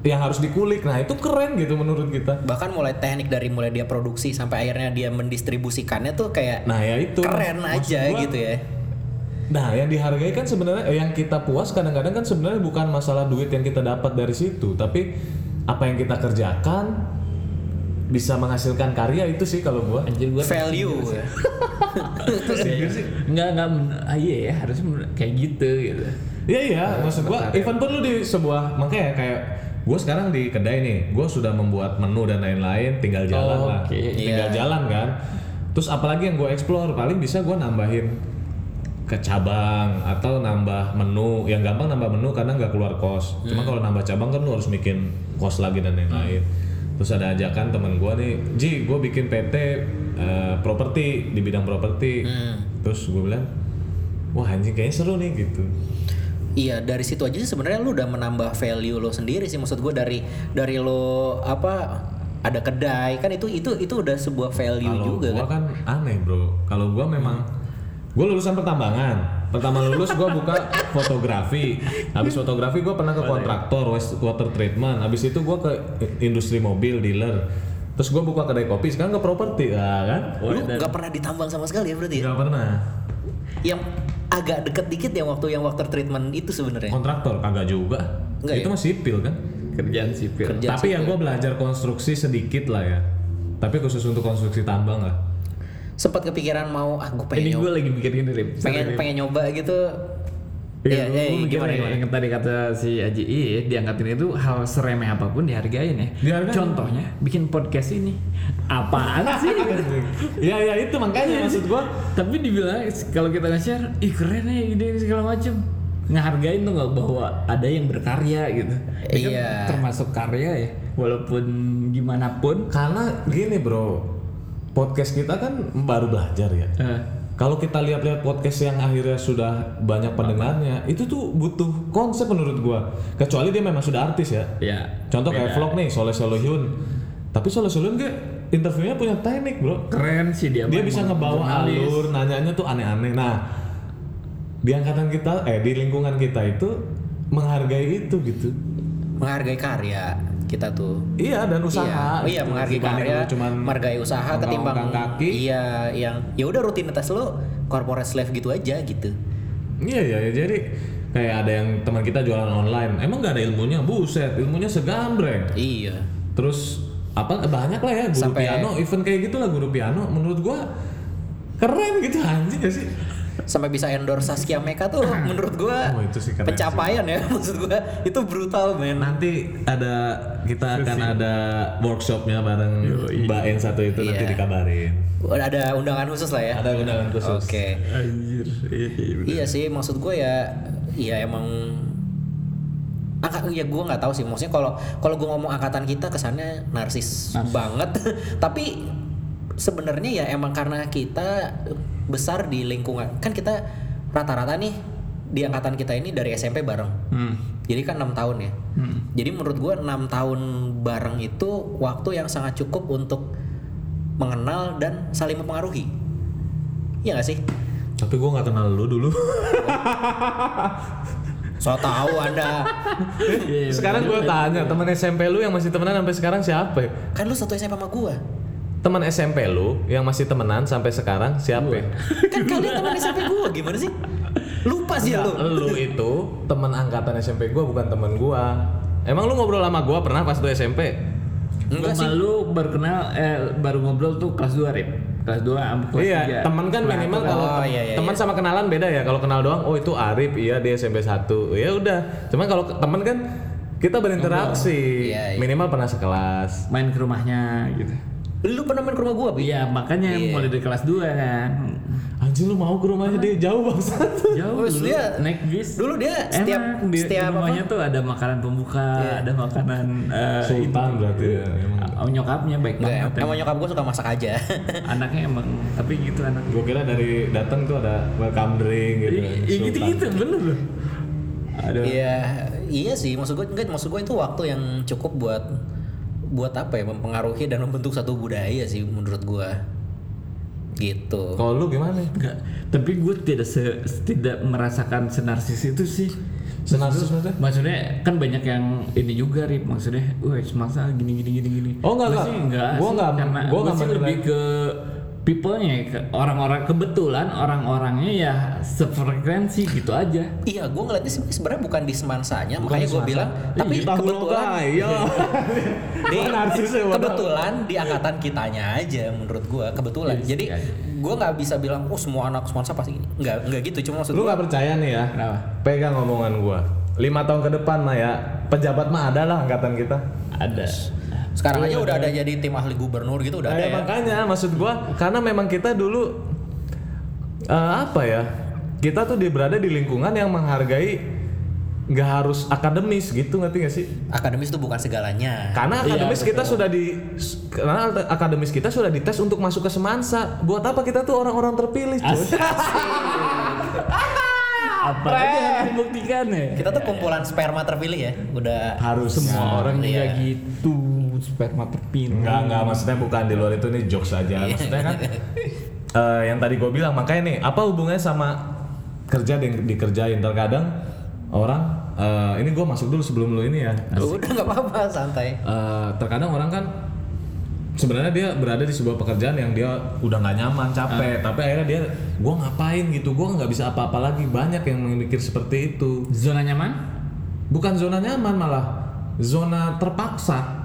[SPEAKER 3] yang harus dikulik. Nah, itu keren gitu menurut kita.
[SPEAKER 1] Bahkan mulai teknik dari mulai dia produksi sampai akhirnya dia mendistribusikannya tuh kayak
[SPEAKER 3] Nah, ya itu.
[SPEAKER 1] keren
[SPEAKER 3] Maksud
[SPEAKER 1] aja
[SPEAKER 3] gua,
[SPEAKER 1] gitu ya.
[SPEAKER 3] Nah, yang dihargai kan sebenarnya eh, yang kita puas kadang-kadang kan sebenarnya bukan masalah duit yang kita dapat dari situ, tapi apa yang kita kerjakan bisa menghasilkan karya itu sih kalau gua.
[SPEAKER 2] anjir gua
[SPEAKER 1] Value. ya.
[SPEAKER 2] nggak nggak men- ah, iya ya harusnya men- kayak gitu gitu
[SPEAKER 3] Iya iya, maksud gua event pun lu di sebuah makanya kayak gua sekarang di kedai nih, gua sudah membuat menu dan lain-lain, tinggal jalan
[SPEAKER 2] Oh,
[SPEAKER 3] lah.
[SPEAKER 2] oke.
[SPEAKER 3] Tinggal
[SPEAKER 1] Iya.
[SPEAKER 3] jalan kan. Terus apalagi yang gua explore, paling bisa gua nambahin ke cabang atau nambah menu. Yang gampang nambah menu karena nggak keluar kos. Cuma kalau nambah cabang kan lu harus bikin kos lagi dan lain-lain. Terus ada ajakan temen gua nih, Ji, gua bikin PT eh, properti di bidang properti.
[SPEAKER 1] Hmm.
[SPEAKER 3] Terus gua bilang, wah anjing kayaknya seru nih gitu.
[SPEAKER 1] Iya dari situ aja sih sebenarnya lu udah menambah value lo sendiri sih maksud gue dari dari lo apa ada kedai kan itu itu itu udah sebuah value
[SPEAKER 3] Kalau
[SPEAKER 1] juga
[SPEAKER 3] gua
[SPEAKER 1] kan.
[SPEAKER 3] kan aneh bro. Kalau gua memang gua lulusan pertambangan. Pertama lulus gua buka fotografi. Habis fotografi gua pernah ke kontraktor water treatment. Habis itu gua ke industri mobil dealer. Terus gua buka kedai kopi, sekarang ke properti ah, kan?
[SPEAKER 1] Lu nggak pernah ditambang sama sekali ya berarti. ya?
[SPEAKER 3] Gak pernah.
[SPEAKER 1] Yang agak deket dikit yang waktu yang waktu treatment itu sebenarnya.
[SPEAKER 3] Kontraktor kagak juga.
[SPEAKER 1] Enggak
[SPEAKER 3] itu
[SPEAKER 1] ya?
[SPEAKER 3] mah sipil kan?
[SPEAKER 2] kerjaan sipil
[SPEAKER 1] Kerja
[SPEAKER 3] Tapi ya gua belajar konstruksi sedikit lah ya. Tapi khusus untuk konstruksi tambang lah.
[SPEAKER 1] Sempat kepikiran mau ah gue pengen
[SPEAKER 2] ini
[SPEAKER 1] nyoba,
[SPEAKER 2] gue lagi mikirin dari
[SPEAKER 1] pengen pengen nyoba gitu. Iya, iya, iya, gimana gimana.
[SPEAKER 2] Yang tadi kata si Aji, iya, diangkatin itu hal seremeh apapun dihargain ya.
[SPEAKER 3] Dihargain.
[SPEAKER 2] Contohnya bikin podcast ini. Apaan
[SPEAKER 3] (laughs)
[SPEAKER 2] sih?
[SPEAKER 3] ya
[SPEAKER 2] Iya,
[SPEAKER 3] ya itu makanya maksud gua.
[SPEAKER 2] Tapi dibilang kalau kita nge-share, ih keren ya ide ini segala macem Ngehargain tuh nggak bahwa ada yang berkarya gitu. Ini kan
[SPEAKER 1] Iya.
[SPEAKER 2] termasuk karya ya. Walaupun gimana pun.
[SPEAKER 3] Karena gini bro, podcast kita kan baru belajar ya.
[SPEAKER 2] eh,
[SPEAKER 3] Kalau kita lihat-lihat podcast yang akhirnya sudah banyak pendengarnya, itu tuh butuh konsep menurut gua. Kecuali dia memang sudah artis ya.
[SPEAKER 2] ya.
[SPEAKER 3] Contoh kayak
[SPEAKER 2] beda.
[SPEAKER 3] vlog nih, Soleh Solihun. Tapi Soleh Solihun kayak interviewnya punya teknik bro.
[SPEAKER 2] Keren sih
[SPEAKER 1] iya,
[SPEAKER 2] dia.
[SPEAKER 3] Dia
[SPEAKER 2] Bang.
[SPEAKER 3] bisa ngebawa
[SPEAKER 2] Jurnalis.
[SPEAKER 3] alur, nanyanya tuh aneh-aneh. Nah, di angkatan kita, eh di lingkungan kita itu menghargai itu gitu.
[SPEAKER 1] menghargai karya kita tuh.
[SPEAKER 3] Iya dan usaha.
[SPEAKER 1] Iya, iya
[SPEAKER 3] gitu.
[SPEAKER 1] menghargai
[SPEAKER 3] Dibanding
[SPEAKER 1] karya,
[SPEAKER 3] lu cuman
[SPEAKER 1] menghargai usaha ketimbang
[SPEAKER 3] ongkang-ongkang kaki.
[SPEAKER 1] iya yang ya udah rutinitas lo corporate slave gitu aja gitu.
[SPEAKER 3] Iya ya, ya, jadi kayak ada yang teman kita jualan online, emang nggak ada ilmunya, buset, ilmunya segambreng.
[SPEAKER 1] Iya.
[SPEAKER 3] Terus apa banyak lah ya guru
[SPEAKER 1] Sampai-
[SPEAKER 3] piano, event kayak gitulah guru piano. Menurut gua keren gitu anjing gak sih?
[SPEAKER 1] Sampai bisa endorse Saskia Meka
[SPEAKER 3] (clears throat)
[SPEAKER 1] tuh menurut gua
[SPEAKER 3] (laughs) Oh, itu sih keren
[SPEAKER 1] pencapaian ya (laughs) maksud gua itu brutal men.
[SPEAKER 3] Nanti ada kita akan ada workshopnya bareng Mbak En satu itu nanti
[SPEAKER 1] Iya.
[SPEAKER 3] dikabarin.
[SPEAKER 1] Ada undangan khusus lah ya.
[SPEAKER 3] Ada undangan
[SPEAKER 1] Oke.
[SPEAKER 3] khusus.
[SPEAKER 2] Anjir. Iya, iya, bener.
[SPEAKER 1] Iya sih, maksud gue ya, ya emang angkat ya gue nggak tahu sih maksudnya kalau kalau gue ngomong angkatan kita kesannya narsis banget (laughs) tapi sebenarnya ya emang karena kita besar di lingkungan kan kita rata-rata nih di angkatan kita ini dari SMP bareng
[SPEAKER 2] Hmm.
[SPEAKER 1] jadi kan enam tahun ya jadi menurut gue enam tahun bareng itu waktu yang sangat cukup untuk mengenal dan saling mempengaruhi Iya gak sih
[SPEAKER 3] Tapi gua nggak kenal lu dulu.
[SPEAKER 1] So tahu Anda.
[SPEAKER 3] (laughs)
[SPEAKER 2] Iya,
[SPEAKER 3] sekarang gua tanya teman SMP lu yang masih temenan sampai sekarang siapa? ya?
[SPEAKER 1] Kan lu satu SMP sama gua.
[SPEAKER 3] Teman SMP lu yang masih temenan sampai sekarang siapa? ya?
[SPEAKER 1] Kan kalian teman SMP gua gimana sih? Lupa sih ya lu.
[SPEAKER 3] Iya, (laughs) lu itu teman angkatan SMP gua bukan teman gua. Emang lu ngobrol sama gua pernah pas tuh SMP?
[SPEAKER 1] Enggak sih.
[SPEAKER 2] Sama lu baru kenal eh baru ngobrol tuh kelas 2 Rip. Kelas 2 sama kelas
[SPEAKER 3] iya,
[SPEAKER 2] 3.
[SPEAKER 3] teman kan minimal kalau
[SPEAKER 1] Oh,
[SPEAKER 3] tem-
[SPEAKER 1] iya, iya,
[SPEAKER 3] teman sama kenalan beda ya. Kalau kenal doang, oh itu Arif, iya dia SMP 1. Ya udah. Cuman kalau ke- teman kan kita berinteraksi.
[SPEAKER 1] Iya, iya.
[SPEAKER 3] Minimal pernah sekelas.
[SPEAKER 2] main ke rumahnya gitu.
[SPEAKER 1] Lu pernah main ke rumah gua, Bi?
[SPEAKER 2] Iya, makanya mulai dari kelas 2 kan.
[SPEAKER 3] anjing lu mau ke rumahnya dia jauh bangsat
[SPEAKER 2] (laughs) Jauh
[SPEAKER 1] Terus
[SPEAKER 2] dulu
[SPEAKER 1] dia-
[SPEAKER 2] naik bis.
[SPEAKER 1] dulu dia setiap
[SPEAKER 2] Enak, di,
[SPEAKER 1] setiap Iya.
[SPEAKER 2] di rumahnya tuh ada makanan pembuka, ada makanan eh,
[SPEAKER 3] sultan berarti ya emang
[SPEAKER 2] Ah, nyokapnya baik
[SPEAKER 1] Nggak,
[SPEAKER 2] banget. ya.
[SPEAKER 1] emang nyokap gue suka masak aja
[SPEAKER 2] Anaknya emang tapi gitu anak.
[SPEAKER 3] gue kira dari datang tuh ada welcome drink gitu
[SPEAKER 2] Iya
[SPEAKER 3] Sultan.
[SPEAKER 2] gitu-gitu bener loh.
[SPEAKER 3] ada
[SPEAKER 1] Iya, iya sih. Maksud gue, enggak, maksud gue itu waktu yang cukup buat buat apa ya mempengaruhi dan membentuk satu budaya sih menurut gue. Gitu.
[SPEAKER 3] kalau lu gimana
[SPEAKER 2] Enggak, tapi gue tidak se- tidak merasakan senarsis itu sih.
[SPEAKER 3] senarsis maksudnya
[SPEAKER 2] Maksudnya kan banyak yang ini juga Rip maksudnya, wah semasa gini gini gini gini.
[SPEAKER 3] Oh, enggak,
[SPEAKER 2] Gua
[SPEAKER 3] enggak.
[SPEAKER 2] sih enggak.
[SPEAKER 3] Gua
[SPEAKER 2] sih,
[SPEAKER 3] enggak-
[SPEAKER 2] karena
[SPEAKER 3] gua
[SPEAKER 2] gua
[SPEAKER 3] enggak
[SPEAKER 2] sih
[SPEAKER 3] menilai.
[SPEAKER 2] lebih ke people-nya ya, ke orang-orang kebetulan orang-orangnya ya sefrekuensi gitu aja.
[SPEAKER 1] Iya, gue ngeliatnya sih sebenarnya bukan di semansanya, makanya gue bilang. Tapi
[SPEAKER 3] Ih, tahu lo
[SPEAKER 1] kebetulan,
[SPEAKER 3] kah? iya
[SPEAKER 1] (laughs) di,
[SPEAKER 3] (laughs) Gua narsisnya, waduh.
[SPEAKER 1] kebetulan di angkatan kitanya aja menurut gue kebetulan. Jadi gue nggak bisa bilang, oh semua anak semansa pasti gini. Nggak, nggak gitu. Cuma maksud gue,
[SPEAKER 3] lu nggak percaya nih ya
[SPEAKER 2] Kenapa?
[SPEAKER 3] pegang omongan gua lima tahun ke depan mah ya pejabat mah ada lah angkatan kita
[SPEAKER 2] Ada.
[SPEAKER 1] sekarang aja udah ada jadi tim ahli gubernur gitu udah
[SPEAKER 3] Nah,
[SPEAKER 1] ada ya.
[SPEAKER 3] makanya maksud gua karena memang kita dulu eh, apa ya kita tuh di- berada di lingkungan yang menghargai nggak harus akademis gitu ngerti gak sih
[SPEAKER 1] Akademis itu bukan segalanya.
[SPEAKER 3] karena
[SPEAKER 2] Iya,
[SPEAKER 3] akademis kita sudah di karena akademis kita sudah dites untuk masuk ke semansa buat apa kita tuh orang-orang terpilih cuy
[SPEAKER 2] Apa aja harus dibuktikan ya?
[SPEAKER 1] Kita tuh kumpulan sperma terpilih ya, udah
[SPEAKER 3] harus
[SPEAKER 2] Semua orang juga
[SPEAKER 1] Iya.
[SPEAKER 2] gitu, sperma terpilih.
[SPEAKER 3] Enggak, enggak, maksudnya bukan di luar itu nih jokes aja. Maksudnya kan eh, yang tadi gue bilang makanya nih apa hubungannya sama kerja dan dikerjain terkadang orang eh, ini gue masuk dulu sebelum lu ini ya.
[SPEAKER 1] udah nggak apa-apa santai
[SPEAKER 3] Eh, terkadang orang kan sebenarnya dia berada di sebuah pekerjaan yang dia udah nggak nyaman, capek, tapi akhirnya dia gue ngapain gitu, gue nggak bisa apa-apa lagi. Banyak yang mikir seperti itu.
[SPEAKER 2] Zona nyaman?
[SPEAKER 3] Bukan zona nyaman malah zona terpaksa.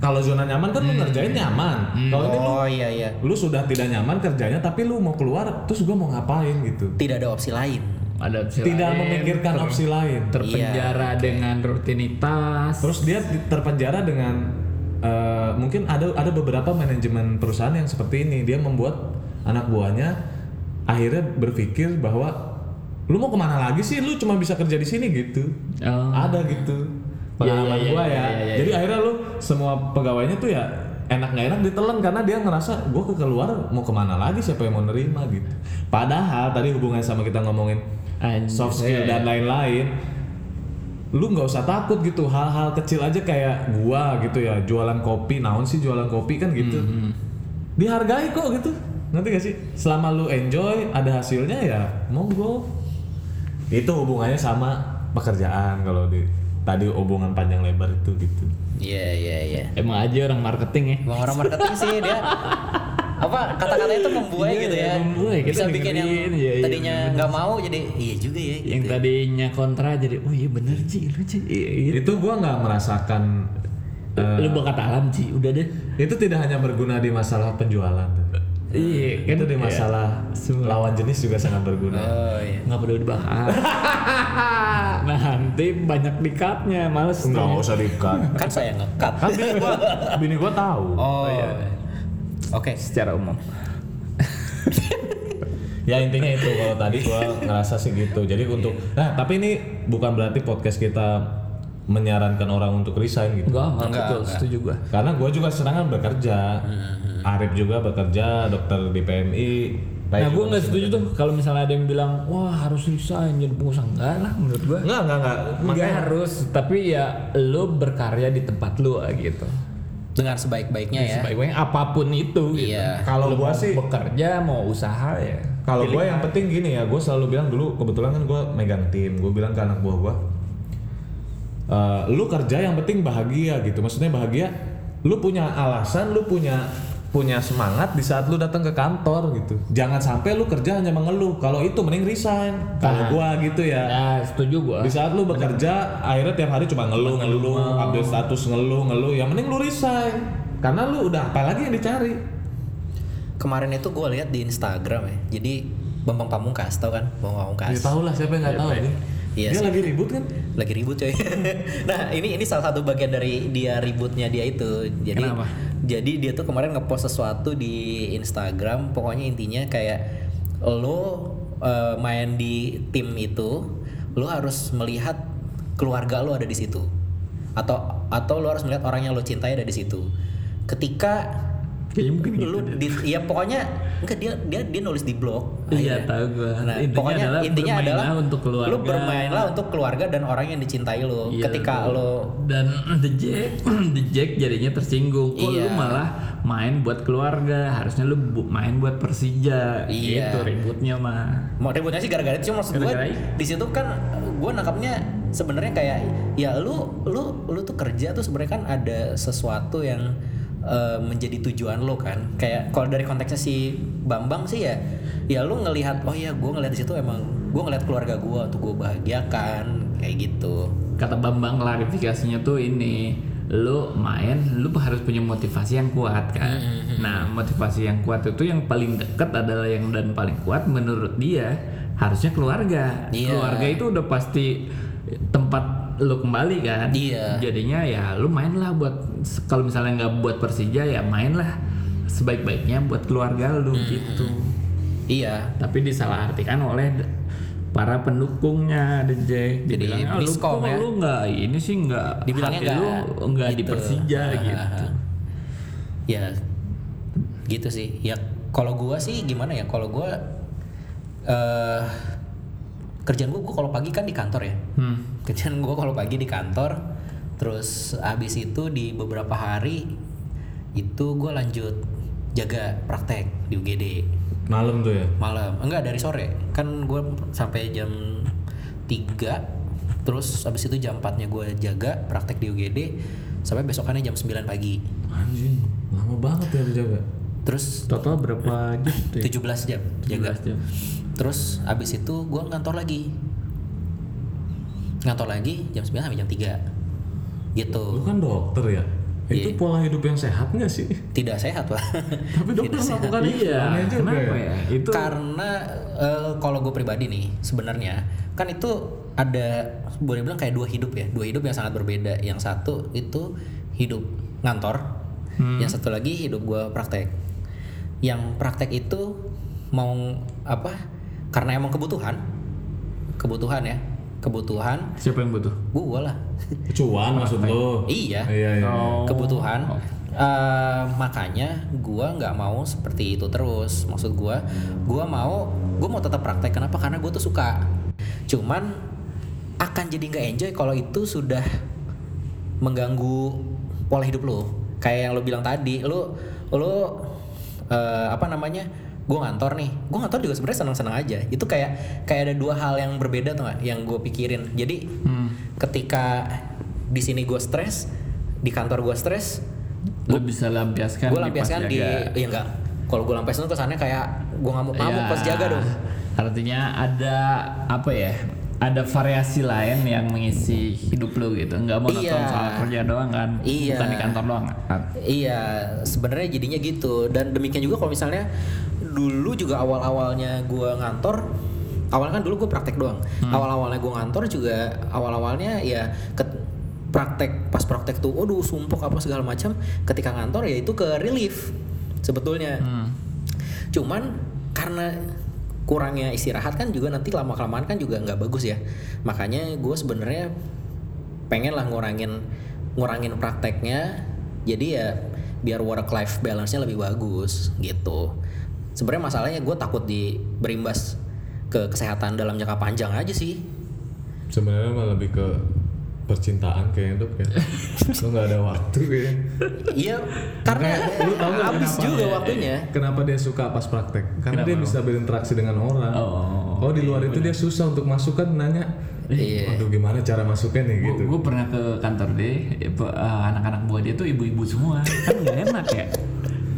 [SPEAKER 3] Kalau zona nyaman kan lu ngerjain nyaman. Kalau ini
[SPEAKER 1] oh iya iya
[SPEAKER 3] lu sudah tidak nyaman kerjanya tapi lu mau keluar terus gua mau ngapain gitu
[SPEAKER 1] tidak ada opsi lain
[SPEAKER 2] Ada opsi
[SPEAKER 3] tidak
[SPEAKER 2] lain, Iya,
[SPEAKER 3] memikirkan
[SPEAKER 2] ter-
[SPEAKER 3] opsi lain
[SPEAKER 2] terpenjara dengan rutinitas.
[SPEAKER 3] terus dia di- terpenjara dengan eh, mungkin ada ada beberapa manajemen perusahaan yang seperti ini dia membuat anak buahnya akhirnya berpikir bahwa lu mau kemana lagi sih lu cuma bisa kerja di sini gitu
[SPEAKER 2] Oh.
[SPEAKER 3] ada gitu pengalaman
[SPEAKER 2] Iya, iya,
[SPEAKER 3] gua ya
[SPEAKER 2] iya, iya, iya, iya.
[SPEAKER 3] jadi akhirnya lu semua pegawainya tuh ya enak nggak enak ditelan karena dia ngerasa gua ke keluar mau kemana lagi siapa yang mau nerima gitu padahal tadi hubungan sama kita ngomongin
[SPEAKER 2] Anjir.
[SPEAKER 3] soft skill dan lain-lain lu nggak usah takut gitu hal-hal kecil aja kayak gua gitu ya jualan kopi naon sih jualan kopi kan gitu
[SPEAKER 2] Hmm,
[SPEAKER 3] dihargai kok gitu nanti gak sih selama lu enjoy ada hasilnya ya monggo itu hubungannya sama pekerjaan kalau di tadi hubungan panjang lebar itu gitu
[SPEAKER 1] iya iya iya
[SPEAKER 2] Emang aja orang marketing ya.
[SPEAKER 3] Iya.
[SPEAKER 1] Emang orang marketing sih dia apa kata-katanya itu membuai
[SPEAKER 2] Iya,
[SPEAKER 1] gitu ya
[SPEAKER 2] membuai. Kita
[SPEAKER 1] bisa bikin yang
[SPEAKER 2] dengerin, iya, iya,
[SPEAKER 1] tadinya nggak mau jadi iya juga ya
[SPEAKER 2] Yang
[SPEAKER 1] gitu.
[SPEAKER 2] tadinya kontra jadi, oh iya bener Ci, lu Ci. Iya, iya.
[SPEAKER 3] itu gua nggak merasakan eh,
[SPEAKER 2] Lu bakat alam Ci, udah deh.
[SPEAKER 3] itu tidak hanya berguna di masalah penjualan
[SPEAKER 2] Iya, kan
[SPEAKER 3] itu di masalah lawan jenis juga sangat berguna
[SPEAKER 1] oh iya
[SPEAKER 2] nggak perlu (laughs) dibahas. Nah, Nanti banyak dikatnya, males. tuh.
[SPEAKER 3] usah diikat
[SPEAKER 1] kan saya ngekat
[SPEAKER 3] kan bini gua bini gua tahu
[SPEAKER 1] oh
[SPEAKER 3] iya.
[SPEAKER 1] oke
[SPEAKER 2] Secara umum.
[SPEAKER 3] ya intinya itu kalau tadi gua ngerasa sih gitu jadi untuk nah tapi ini bukan berarti podcast kita menyarankan orang untuk resign gitu
[SPEAKER 2] Enggak, enggak,
[SPEAKER 1] Enggak,
[SPEAKER 2] betul,
[SPEAKER 1] enggak.
[SPEAKER 2] setuju gua.
[SPEAKER 3] karena gua juga serangan bekerja
[SPEAKER 2] Hmm.
[SPEAKER 3] Arif juga bekerja dokter di PMI Rai
[SPEAKER 2] Nah,
[SPEAKER 3] juga
[SPEAKER 2] gua nggak setuju tuh kalau misalnya ada yang bilang, wah harus resign jadi pengusaha. Enggak lah, menurut gua.
[SPEAKER 3] Enggak, enggak, enggak.
[SPEAKER 2] Enggak harus, tapi ya lo berkarya di tempat lo gitu.
[SPEAKER 1] dengan
[SPEAKER 2] Iya,
[SPEAKER 1] sebaik-baiknya ya
[SPEAKER 2] Sebaik-baiknya apapun itu gitu.
[SPEAKER 1] Iya.
[SPEAKER 3] Kalau
[SPEAKER 2] Lo
[SPEAKER 3] gua
[SPEAKER 2] mau
[SPEAKER 3] sih-
[SPEAKER 2] bekerja mau usaha ya.
[SPEAKER 3] Kalau gue yang penting gini ya, gue selalu bilang dulu kebetulan kan gue megang tim, gue bilang ke anak buah gue, "Eh, lu kerja yang penting bahagia gitu, maksudnya bahagia, lu punya alasan, lu punya punya semangat di saat lu datang ke kantor gitu, jangan sampai lu kerja hanya mengeluh, kalau itu mending resign, kalau
[SPEAKER 2] Nah.
[SPEAKER 3] gue gitu ya,
[SPEAKER 2] Nah, setuju gua.
[SPEAKER 3] di saat lu bekerja, akhirnya tiap hari cuma ngeluh, ngeluh, update status ngeluh, ngeluh, yang mending lu resign, karena lu udah apalagi yang dicari,
[SPEAKER 1] kemarin itu gue lihat di Instagram ya jadi Bambang Pamungkas tau kan Bambang Pamungkas
[SPEAKER 3] Iya, tahu lah siapa yang nggak tahu, Din.
[SPEAKER 1] Iya
[SPEAKER 3] dia
[SPEAKER 1] sih.
[SPEAKER 3] lagi ribut kan?
[SPEAKER 1] lagi ribut coy. (laughs) nah ini ini salah satu bagian dari dia ributnya dia itu. Jadi
[SPEAKER 2] Kenapa?
[SPEAKER 1] jadi dia tuh kemarin ngepost sesuatu di Instagram. Pokoknya intinya kayak lo eh, main di tim itu lo harus melihat keluarga lo ada di situ atau atau lo harus melihat orang yang lo cintai ada di situ ketika
[SPEAKER 2] Kayaknya mungkin gitu.
[SPEAKER 1] lu di, ya pokoknya enggak dia dia dia nulis di blog
[SPEAKER 2] Iya,
[SPEAKER 1] akhirnya.
[SPEAKER 2] tahu gua.
[SPEAKER 1] Nah,
[SPEAKER 2] Intinya
[SPEAKER 1] pokoknya
[SPEAKER 2] adalah
[SPEAKER 1] intinya
[SPEAKER 2] bermainlah
[SPEAKER 1] adalah
[SPEAKER 2] untuk keluarga.
[SPEAKER 1] lu bermainlah untuk keluarga dan orang yang dicintai lu
[SPEAKER 2] Iya,
[SPEAKER 1] ketika
[SPEAKER 2] betul.
[SPEAKER 1] lu
[SPEAKER 2] dan (clears throat) the Jack the Jack jadinya tersinggung kok lu
[SPEAKER 1] Iya.
[SPEAKER 2] malah main buat keluarga harusnya lu bu- main buat
[SPEAKER 1] Iya.
[SPEAKER 2] Persija gitu ributnya mah
[SPEAKER 1] mau ributnya sih gara-gara itu cuma maksud gue
[SPEAKER 2] Gara-gara itu.
[SPEAKER 1] di situ kan gue nangkapnya sebenarnya kayak ya lu lu lu tuh kerja tuh sebenarnya kan ada sesuatu yang eh, menjadi tujuan lo kan kayak kalau dari konteksnya si Bambang sih ya ya lu ngelihat oh ya gue ngelihat di situ emang gue ngelihat keluarga gue tuh gue bahagiakan kayak gitu
[SPEAKER 2] kata Bambang klarifikasinya tuh ini lu main lu harus punya motivasi yang kuat kan
[SPEAKER 1] Hmm,
[SPEAKER 2] nah motivasi yang kuat itu yang paling deket adalah yang dan paling kuat menurut dia harusnya keluarga
[SPEAKER 1] Iya.
[SPEAKER 2] keluarga itu udah pasti tempat lu kembali kan
[SPEAKER 1] Iya.
[SPEAKER 2] jadinya ya lu mainlah buat kalau misalnya nggak buat Persija ya mainlah sebaik-baiknya buat keluarga lu
[SPEAKER 1] Hmm,
[SPEAKER 2] gitu
[SPEAKER 1] iya
[SPEAKER 2] tapi disalahartikan oleh d- para pendukungnya The Jack
[SPEAKER 1] Jadi
[SPEAKER 2] dibilang "Ah, lu
[SPEAKER 1] miskom
[SPEAKER 2] kok
[SPEAKER 1] ya?"
[SPEAKER 2] lu nggak ini sih nggak
[SPEAKER 1] Dibilangnya
[SPEAKER 2] hati lu
[SPEAKER 1] nggak
[SPEAKER 2] nggak di
[SPEAKER 1] gitu.
[SPEAKER 2] Persija
[SPEAKER 1] Ah,
[SPEAKER 2] gitu
[SPEAKER 1] ya gitu sih ya kalau gua sih gimana ya kalau gua eh kerjaan gua, gua kalau pagi kan di kantor ya
[SPEAKER 2] hmm.
[SPEAKER 1] kerjaan gua kalau pagi di kantor terus abis itu di beberapa hari itu gua lanjut jaga praktek di UGD
[SPEAKER 3] Malam tuh ya.
[SPEAKER 1] malam enggak dari sore kan gua sampai jam 3 terus abis itu jam 4 nya gue jaga praktek di UGD sampai besokannya jam 9 pagi
[SPEAKER 3] Anjing, lama banget ya dijaga.
[SPEAKER 1] terus
[SPEAKER 2] total berapa gitu ya?
[SPEAKER 1] 17 jam jaga
[SPEAKER 2] 17 jam
[SPEAKER 1] terus abis itu gua ngantor lagi ngantor lagi jam 9 sampai jam 3 gitu
[SPEAKER 3] Lu kan dokter ya. Itu pola hidup yang sehat nggak sih?
[SPEAKER 1] tidak sehat lah
[SPEAKER 3] Tapi dokter melakukan itu.
[SPEAKER 2] iya
[SPEAKER 3] aneh juga
[SPEAKER 2] kenapa ya itu
[SPEAKER 1] karena eh, kalau gue pribadi nih sebenarnya kan itu ada boleh bilang kayak dua hidup ya dua hidup yang sangat berbeda yang satu itu hidup ngantor yang satu lagi hidup gue praktek yang praktek itu mau apa karena emang kebutuhan kebutuhan ya kebutuhan
[SPEAKER 2] siapa yang butuh
[SPEAKER 1] gue lah
[SPEAKER 3] Cuan maksud lu.
[SPEAKER 1] Iya.
[SPEAKER 3] Iya, iya.
[SPEAKER 2] Oh.
[SPEAKER 1] kebutuhan
[SPEAKER 2] Oh.
[SPEAKER 1] Eh, makanya gua nggak mau seperti itu terus maksud gua gua mau gua mau tetap praktek kenapa karena gua tuh suka cuman akan jadi nggak enjoy kalau itu sudah mengganggu pola hidup lo kayak yang lo bilang tadi lo lo eh, apa namanya gua ngantor nih gua ngantor juga sebenarnya senang senang aja itu kayak kayak ada dua hal yang berbeda tuh nggak yang gue pikirin jadi ketika di sini gue stres di kantor gue stres
[SPEAKER 2] lu bisa lampiaskan
[SPEAKER 1] gue
[SPEAKER 2] Kan di
[SPEAKER 1] lampiaskan di
[SPEAKER 2] Pasjaga.
[SPEAKER 1] ya enggak kalau gue lampiaskan tuh kesannya kayak gue ngamuk ngamuk
[SPEAKER 2] Ya,
[SPEAKER 1] pas jaga dong
[SPEAKER 2] artinya ada apa ya ada variasi lain yang mengisi hidup lu gitu nggak mau
[SPEAKER 1] Iya.
[SPEAKER 2] soal kerja doang kan
[SPEAKER 1] Iya.
[SPEAKER 2] bukan di kantor doang kan
[SPEAKER 1] iya sebenarnya jadinya gitu dan demikian juga kalau misalnya dulu juga awal awalnya gue ngantor awalnya kan dulu gue praktek doang awal awalnya gue ngantor juga awal awalnya ya ke- praktek pas praktek tuh aduh sumpuk apa segala macam ketika ngantor ya itu ke relief sebetulnya cuman karena kurangnya istirahat kan juga nanti lama kelamaan kan juga nggak bagus ya makanya gue sebenarnya pengen lah ngurangin ngurangin prakteknya jadi ya biar work life balance nya lebih bagus gitu sebenarnya masalahnya gue takut di berimbas ke kesehatan dalam jangka panjang aja sih
[SPEAKER 3] Sebenarnya mah lebih ke percintaan kayaknya ya. (laughs) tuh kayak lu nggak ada waktu ya. kayaknya.
[SPEAKER 1] iya karena
[SPEAKER 3] Lu tahu nggak
[SPEAKER 1] habis
[SPEAKER 3] kenapa?
[SPEAKER 1] juga waktunya
[SPEAKER 3] Kenapa dia suka pas praktek? Karena
[SPEAKER 2] Kenapa
[SPEAKER 3] dia
[SPEAKER 2] emang?
[SPEAKER 3] bisa berinteraksi dengan orang.
[SPEAKER 2] Oh,
[SPEAKER 3] di luar itu dia susah untuk masukkan nanya.
[SPEAKER 1] Iya.
[SPEAKER 3] Aduh gimana cara masuknya nih gitu.
[SPEAKER 2] gue pernah ke kantor deh eh, pe- eh, anak-anak buah dia tuh ibu-ibu semua kan nggak enak ya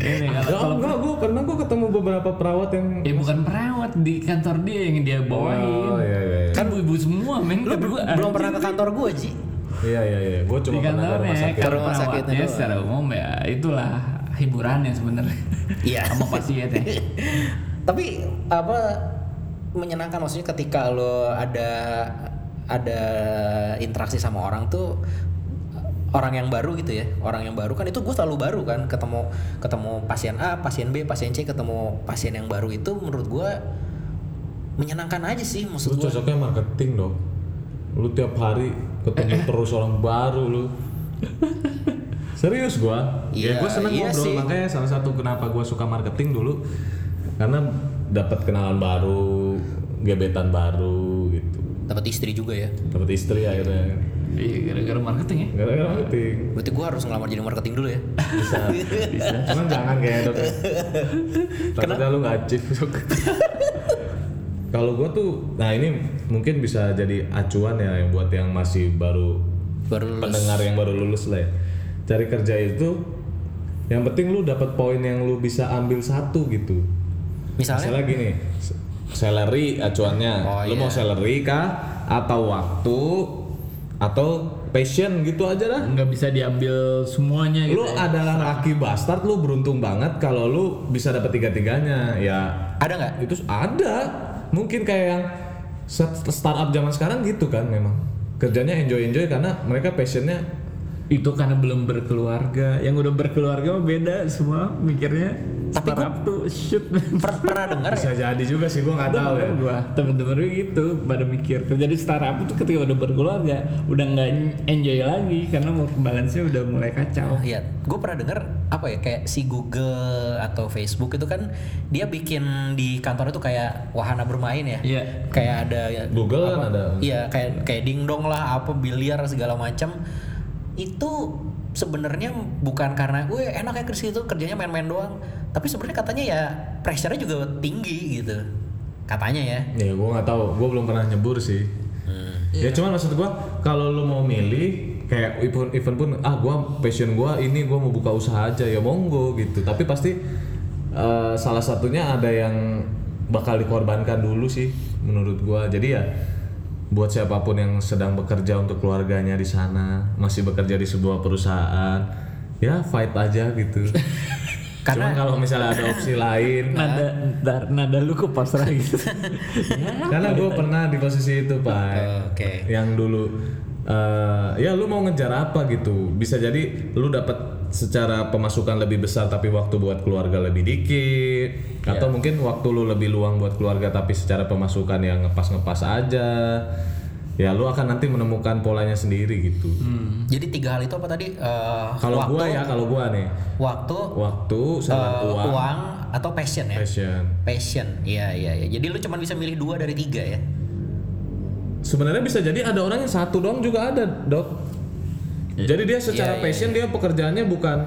[SPEAKER 2] ini
[SPEAKER 3] Oh,
[SPEAKER 2] kalau kalau-
[SPEAKER 3] enggak, gue pernah gue ketemu beberapa perawat yang
[SPEAKER 2] eh bukan perawat di kantor dia yang dia
[SPEAKER 3] Oh
[SPEAKER 2] bawain
[SPEAKER 3] iya iya iya.
[SPEAKER 2] kan ibu-ibu semua men
[SPEAKER 1] lu
[SPEAKER 2] Kata gua,
[SPEAKER 3] Eh.
[SPEAKER 1] belum pernah ke kantor gue Ji
[SPEAKER 3] Iya iya iya. Gue
[SPEAKER 2] di
[SPEAKER 3] cuma pernah ke rumah
[SPEAKER 2] kantornya
[SPEAKER 3] sakit.
[SPEAKER 1] Ke
[SPEAKER 2] karena
[SPEAKER 1] rumah sakitnya
[SPEAKER 2] perawatnya
[SPEAKER 1] doang.
[SPEAKER 2] secara umum ya itulah hiburan yang sebenarnya
[SPEAKER 1] Iya.
[SPEAKER 2] (laughs) sama ya.
[SPEAKER 3] (laughs)
[SPEAKER 2] pasiennya
[SPEAKER 1] (laughs) tapi apa menyenangkan maksudnya ketika lo ada ada interaksi sama orang tuh orang yang baru gitu ya orang yang baru kan itu gue selalu baru kan ketemu ketemu pasien A pasien B pasien C ketemu pasien yang baru itu menurut gue menyenangkan aja sih maksud
[SPEAKER 3] Lu
[SPEAKER 1] gue
[SPEAKER 3] cocoknya marketing dong. Lu tiap hari ketemu terus orang baru lu. Serius gua.
[SPEAKER 1] Iya,
[SPEAKER 3] ya gua seneng
[SPEAKER 1] iya
[SPEAKER 3] ngobrol
[SPEAKER 1] sih.
[SPEAKER 3] makanya salah satu kenapa gua suka marketing dulu karena dapat kenalan baru, gebetan baru gitu.
[SPEAKER 1] dapat istri juga ya
[SPEAKER 3] Dapat istri akhirnya.
[SPEAKER 2] Iya, gara-gara marketing ya.
[SPEAKER 3] Gara-gara marketing.
[SPEAKER 1] berarti gue harus ngelamar jadi marketing dulu ya
[SPEAKER 3] Bisa. Bisa. Cuman jangan kayak
[SPEAKER 1] (laughs)
[SPEAKER 3] dok. Takutnya lu nggak achieve Dok. Kalau gua tuh, nah ini mungkin bisa jadi acuan ya buat yang masih baru
[SPEAKER 1] baru lulus.
[SPEAKER 3] pendengar yang baru lulus lah ya. Cari kerja itu yang penting lu dapat poin yang lu bisa ambil satu gitu.
[SPEAKER 1] misalnya
[SPEAKER 3] Misalnya gini, s- salary acuannya.
[SPEAKER 1] Oh,
[SPEAKER 3] lu
[SPEAKER 1] iya.
[SPEAKER 3] mau salary kah atau waktu atau passion gitu aja dah.
[SPEAKER 2] Nggak bisa diambil
[SPEAKER 1] Iya,
[SPEAKER 2] semuanya gitu.
[SPEAKER 3] Lu
[SPEAKER 1] ya.
[SPEAKER 3] adalah laki bastard, lu beruntung banget kalau lu bisa dapat tiga-tiganya. Ya
[SPEAKER 1] ada nggak
[SPEAKER 3] itu ada mungkin kayak yang set- startup zaman sekarang gitu kan memang kerjanya enjoy enjoy karena mereka passionnya
[SPEAKER 2] Itu karena belum berkeluarga. Yang udah berkeluarga mah beda semua mikirnya.
[SPEAKER 1] Tapi gua-
[SPEAKER 2] startup tuh shit. (laughs)
[SPEAKER 1] Per- pernah dengar ya?
[SPEAKER 3] bisa jadi juga sih gua nggak tahu ya
[SPEAKER 2] Temen gua temen-temen gue gitu pada mikir kerja di startup itu ketika udah berkeluarga udah nggak enjoy lagi karena work balance nya udah mulai kacau
[SPEAKER 1] Iya, gue pernah denger apa ya kayak si Google atau Facebook itu kan dia bikin di kantor itu kayak wahana bermain ya.
[SPEAKER 2] Iya.
[SPEAKER 1] Kayak ada ya,
[SPEAKER 3] Google kan ada
[SPEAKER 1] Iya, kayak kayak dingdong lah, apa biliar segala macam. Itu sebenarnya bukan karena gue enak ya kerja itu kerjanya main-main doang, tapi sebenarnya katanya ya pressure-nya juga tinggi gitu. Katanya ya.
[SPEAKER 3] ya gua nggak tahu gua belum pernah nyebur sih ya cuman maksud gua kalau lu mau milih kayak event event pun ah gua passion gua ini gua mau buka usaha aja ya monggo gitu tapi pasti eh, salah satunya ada yang bakal dikorbankan dulu sih menurut gua jadi ya buat siapapun yang sedang bekerja untuk keluarganya di sana masih bekerja di sebuah perusahaan ya fight aja gitu
[SPEAKER 1] Karena-
[SPEAKER 3] Cuman kalau misalnya ada opsi lain
[SPEAKER 2] nada ntar- nada lu kok pasrah (laughs) gitu ya
[SPEAKER 3] karena gue pernah di posisi itu pak
[SPEAKER 1] Oke.
[SPEAKER 3] yang dulu eh, ya lu mau ngejar apa gitu bisa jadi lu dapat secara pemasukan lebih besar tapi waktu buat keluarga lebih dikit atau
[SPEAKER 1] Iya.
[SPEAKER 3] mungkin waktu lu lebih luang buat keluarga tapi secara pemasukan yang ngepas-ngepas aja ya lu akan nanti menemukan polanya sendiri gitu
[SPEAKER 1] Jadi tiga hal itu apa tadi? Eh,
[SPEAKER 3] kalau
[SPEAKER 1] Hmm, waktu,
[SPEAKER 3] gua ya kalau gua nih
[SPEAKER 1] waktu,
[SPEAKER 3] waktu sama
[SPEAKER 1] eh,
[SPEAKER 3] uang,
[SPEAKER 1] uang atau passion ya.
[SPEAKER 3] passion
[SPEAKER 1] Passion, iya iya iya. Jadi lu cuma bisa milih dua dari tiga ya.
[SPEAKER 3] sebenarnya bisa jadi ada orang yang satu doang juga ada dok jadi dia
[SPEAKER 1] Iya,
[SPEAKER 3] secara
[SPEAKER 1] iya,
[SPEAKER 3] passion dia pekerjaannya bukan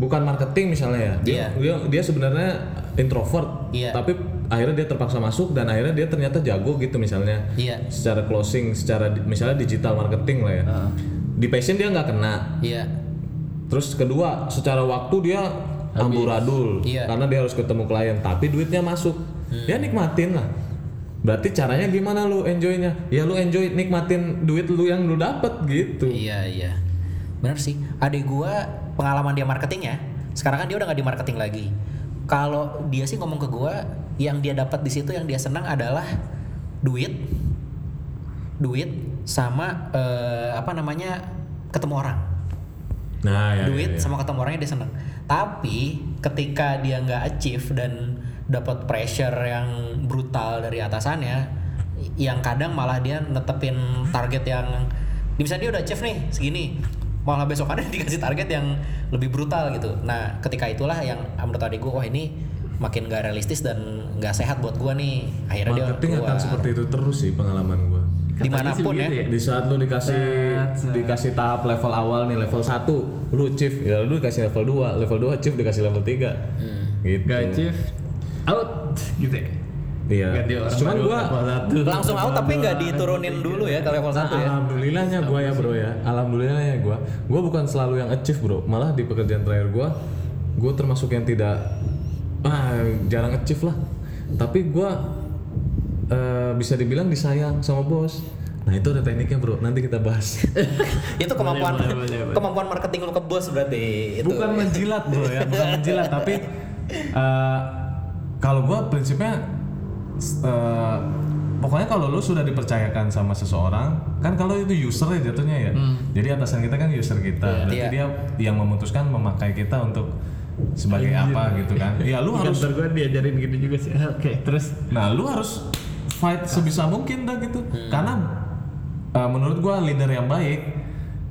[SPEAKER 3] bukan marketing misalnya ya dia
[SPEAKER 1] Iya.
[SPEAKER 3] dia, dia sebenarnya introvert
[SPEAKER 1] Iya.
[SPEAKER 3] tapi akhirnya dia terpaksa masuk dan akhirnya dia ternyata jago gitu misalnya
[SPEAKER 1] Iya.
[SPEAKER 3] secara closing secara di- misalnya digital marketing lah ya di passion dia nggak kena
[SPEAKER 1] Iya.
[SPEAKER 3] terus kedua secara waktu dia amburadul
[SPEAKER 1] Iya. Hmm.
[SPEAKER 3] karena dia harus ketemu klien tapi duitnya masuk ya nikmatin lah berarti caranya gimana lu enjoynya ya lu enjoy nikmatin duit lu yang lu dapet gitu
[SPEAKER 1] Iya iya. Benar sih. Adik gua pengalaman dia marketing ya. Sekarang kan dia udah nggak di marketing lagi. Kalau dia sih ngomong ke gua, yang dia dapat di situ yang dia senang adalah duit, duit sama eh, apa namanya ketemu orang.
[SPEAKER 3] nah
[SPEAKER 1] duit sama ketemu orangnya dia seneng tapi ketika dia nggak achieve dan dapat pressure yang brutal dari atasannya yang kadang malah dia netepin target yang misalnya dia udah achieve nih segini malah besok ada dikasih target yang (laughs) lebih brutal gitu nah ketika itulah yang ah, menurut adik gue wah ini makin gak realistis dan nggak sehat buat gue nih akhirnya
[SPEAKER 3] marketing
[SPEAKER 1] dia keluar
[SPEAKER 3] akan seperti itu terus sih pengalaman gua
[SPEAKER 1] dimanapun ya
[SPEAKER 2] Katanya sih begitu
[SPEAKER 3] di saat lu dikasih
[SPEAKER 2] Set, set.
[SPEAKER 3] dikasih tahap level awal nih level 1 lu chief ya lu dikasih level 2 level 2 chief dikasih level 3
[SPEAKER 1] Hmm.
[SPEAKER 3] gitu
[SPEAKER 2] Gak achieve, out gitu ya
[SPEAKER 3] iya
[SPEAKER 2] ganti orang
[SPEAKER 3] cuman
[SPEAKER 2] baru,
[SPEAKER 3] gua
[SPEAKER 2] level satu.
[SPEAKER 1] langsung out tapi nggak
[SPEAKER 2] Level dua,
[SPEAKER 1] diturunin
[SPEAKER 2] level
[SPEAKER 1] dulu ya ke level
[SPEAKER 2] Ah,
[SPEAKER 1] satu ya
[SPEAKER 3] Alhamdulillahnya gue ya bro ya Alhamdulillahnya gue Gue bukan selalu yang achieve bro Malah di pekerjaan terakhir gue Gue termasuk yang tidak ah, Jarang achieve lah Tapi gue eh, Bisa dibilang disayang sama bos Nah itu ada tekniknya bro Nanti kita
[SPEAKER 1] (laughs)
[SPEAKER 3] bahas
[SPEAKER 1] itu kemampuan
[SPEAKER 2] Boleh, boleh, boleh.
[SPEAKER 1] kemampuan marketing lu ke bos berarti itu
[SPEAKER 3] Bukan menjilat bro ya Bukan menjilat Tapi eh, Kalau gue prinsipnya s- eh, Pokoknya kalau lu sudah dipercayakan sama seseorang Kan kalau itu user ya jatuhnya ya Jadi atasan kita kan user kita Berarti
[SPEAKER 1] Hmm. Iya.
[SPEAKER 3] dia yang memutuskan memakai kita untuk
[SPEAKER 1] Iya.
[SPEAKER 3] Sebagai apa gitu kan Ya
[SPEAKER 1] (laughs)
[SPEAKER 3] lu
[SPEAKER 2] Di
[SPEAKER 3] harus
[SPEAKER 2] kantor gue diajarin gitu juga sih (laughs) oke terus
[SPEAKER 3] Nah lu harus fight sebisa mungkin dah gitu.
[SPEAKER 1] Hmm.
[SPEAKER 3] Karena uh, menurut gua leader yang baik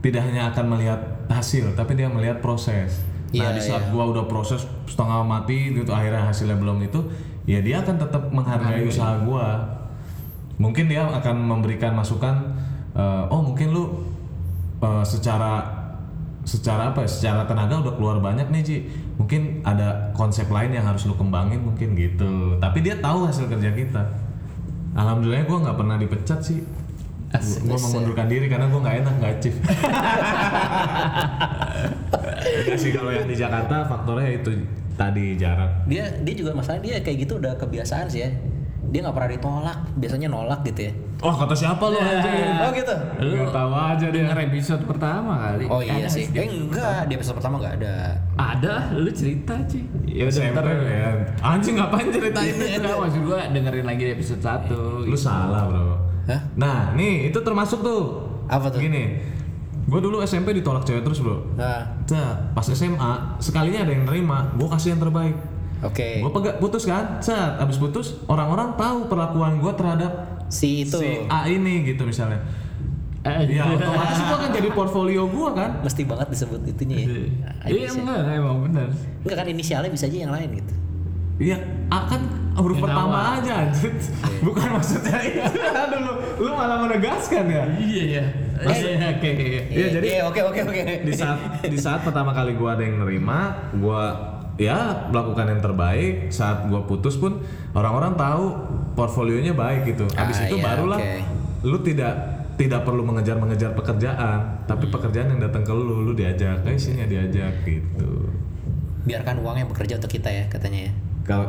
[SPEAKER 3] tidak hanya akan melihat hasil, tapi dia melihat proses.
[SPEAKER 1] Iya,
[SPEAKER 3] Nah di saat gua udah proses setengah mati gitu, akhirnya hasilnya belum itu, ya dia akan tetap menghargai usaha gua. Mungkin dia akan memberikan masukan, uh, oh mungkin lu uh, secara secara apa ya, secara tenaga udah keluar banyak nih Ci mungkin ada konsep lain yang harus lu kembangin mungkin gitu tapi dia tahu hasil kerja kita alhamdulillah gue nggak pernah dipecat sih gue mengundurkan diri karena gue nggak enak nggak (laughs) chief Enggak sih kalau yang di Jakarta faktornya itu tadi jarak
[SPEAKER 1] dia dia juga masalah dia kayak gitu udah kebiasaan sih ya dia nggak pernah ditolak biasanya nolak gitu ya
[SPEAKER 3] oh kata siapa lu anjing
[SPEAKER 1] oh gitu
[SPEAKER 2] Lu tahu aja dia episode pertama kali.
[SPEAKER 1] oh iya sih eh enggak di episode pertama nggak ada
[SPEAKER 2] Ada, lu cerita sih.
[SPEAKER 1] iya,
[SPEAKER 2] Ya udah
[SPEAKER 3] SMP
[SPEAKER 2] ntar.
[SPEAKER 3] ya anjing ngapain ceritain
[SPEAKER 2] Enggak maksud gua dengerin lagi di episode 1.
[SPEAKER 1] Iya.
[SPEAKER 3] lu salah bro
[SPEAKER 1] Hah?
[SPEAKER 3] nah nih itu termasuk tuh
[SPEAKER 1] apa tuh
[SPEAKER 3] gini gue dulu SMP ditolak cewek terus bro
[SPEAKER 1] nah
[SPEAKER 3] Cet, pas SMA sekalinya ada yang nerima, gue kasih yang terbaik.
[SPEAKER 1] oke
[SPEAKER 3] Gue putus kan, cet, abis putus orang-orang tahu perlakuan gue terhadap
[SPEAKER 1] si itu
[SPEAKER 3] si A ini gitu misalnya.
[SPEAKER 2] Eh,
[SPEAKER 3] Ya
[SPEAKER 1] iya.
[SPEAKER 3] otomatis itu akan jadi portfolio gue kan.
[SPEAKER 1] mesti banget disebut itunya ya
[SPEAKER 2] Iya enggak emang bener.
[SPEAKER 1] enggak kan inisialnya bisa aja yang lain gitu
[SPEAKER 3] Iya, A kan huruf
[SPEAKER 2] Yang
[SPEAKER 3] pertama
[SPEAKER 2] awal.
[SPEAKER 3] aja anjir. Bukan maksudnya itu. (laughs) Aduh, lu, lu malah menegaskan ya.
[SPEAKER 2] Iya iya. Iya oke oke, oke.
[SPEAKER 3] Iya, jadi-
[SPEAKER 1] Iya, oke oke oke
[SPEAKER 3] di saat di saat pertama kali gua ada yang nerima gua ya melakukan yang terbaik saat gua putus pun orang-orang tahu portfolionya baik gitu habis
[SPEAKER 1] Ah,
[SPEAKER 3] itu
[SPEAKER 1] iya,
[SPEAKER 3] barulah
[SPEAKER 1] oke.
[SPEAKER 3] lu tidak tidak perlu mengejar-mengejar pekerjaan tapi
[SPEAKER 1] Hmm.
[SPEAKER 3] pekerjaan yang datang ke lu lu diajak eh sini diajak gitu
[SPEAKER 1] biarkan uangnya bekerja untuk kita ya katanya ya
[SPEAKER 3] kalau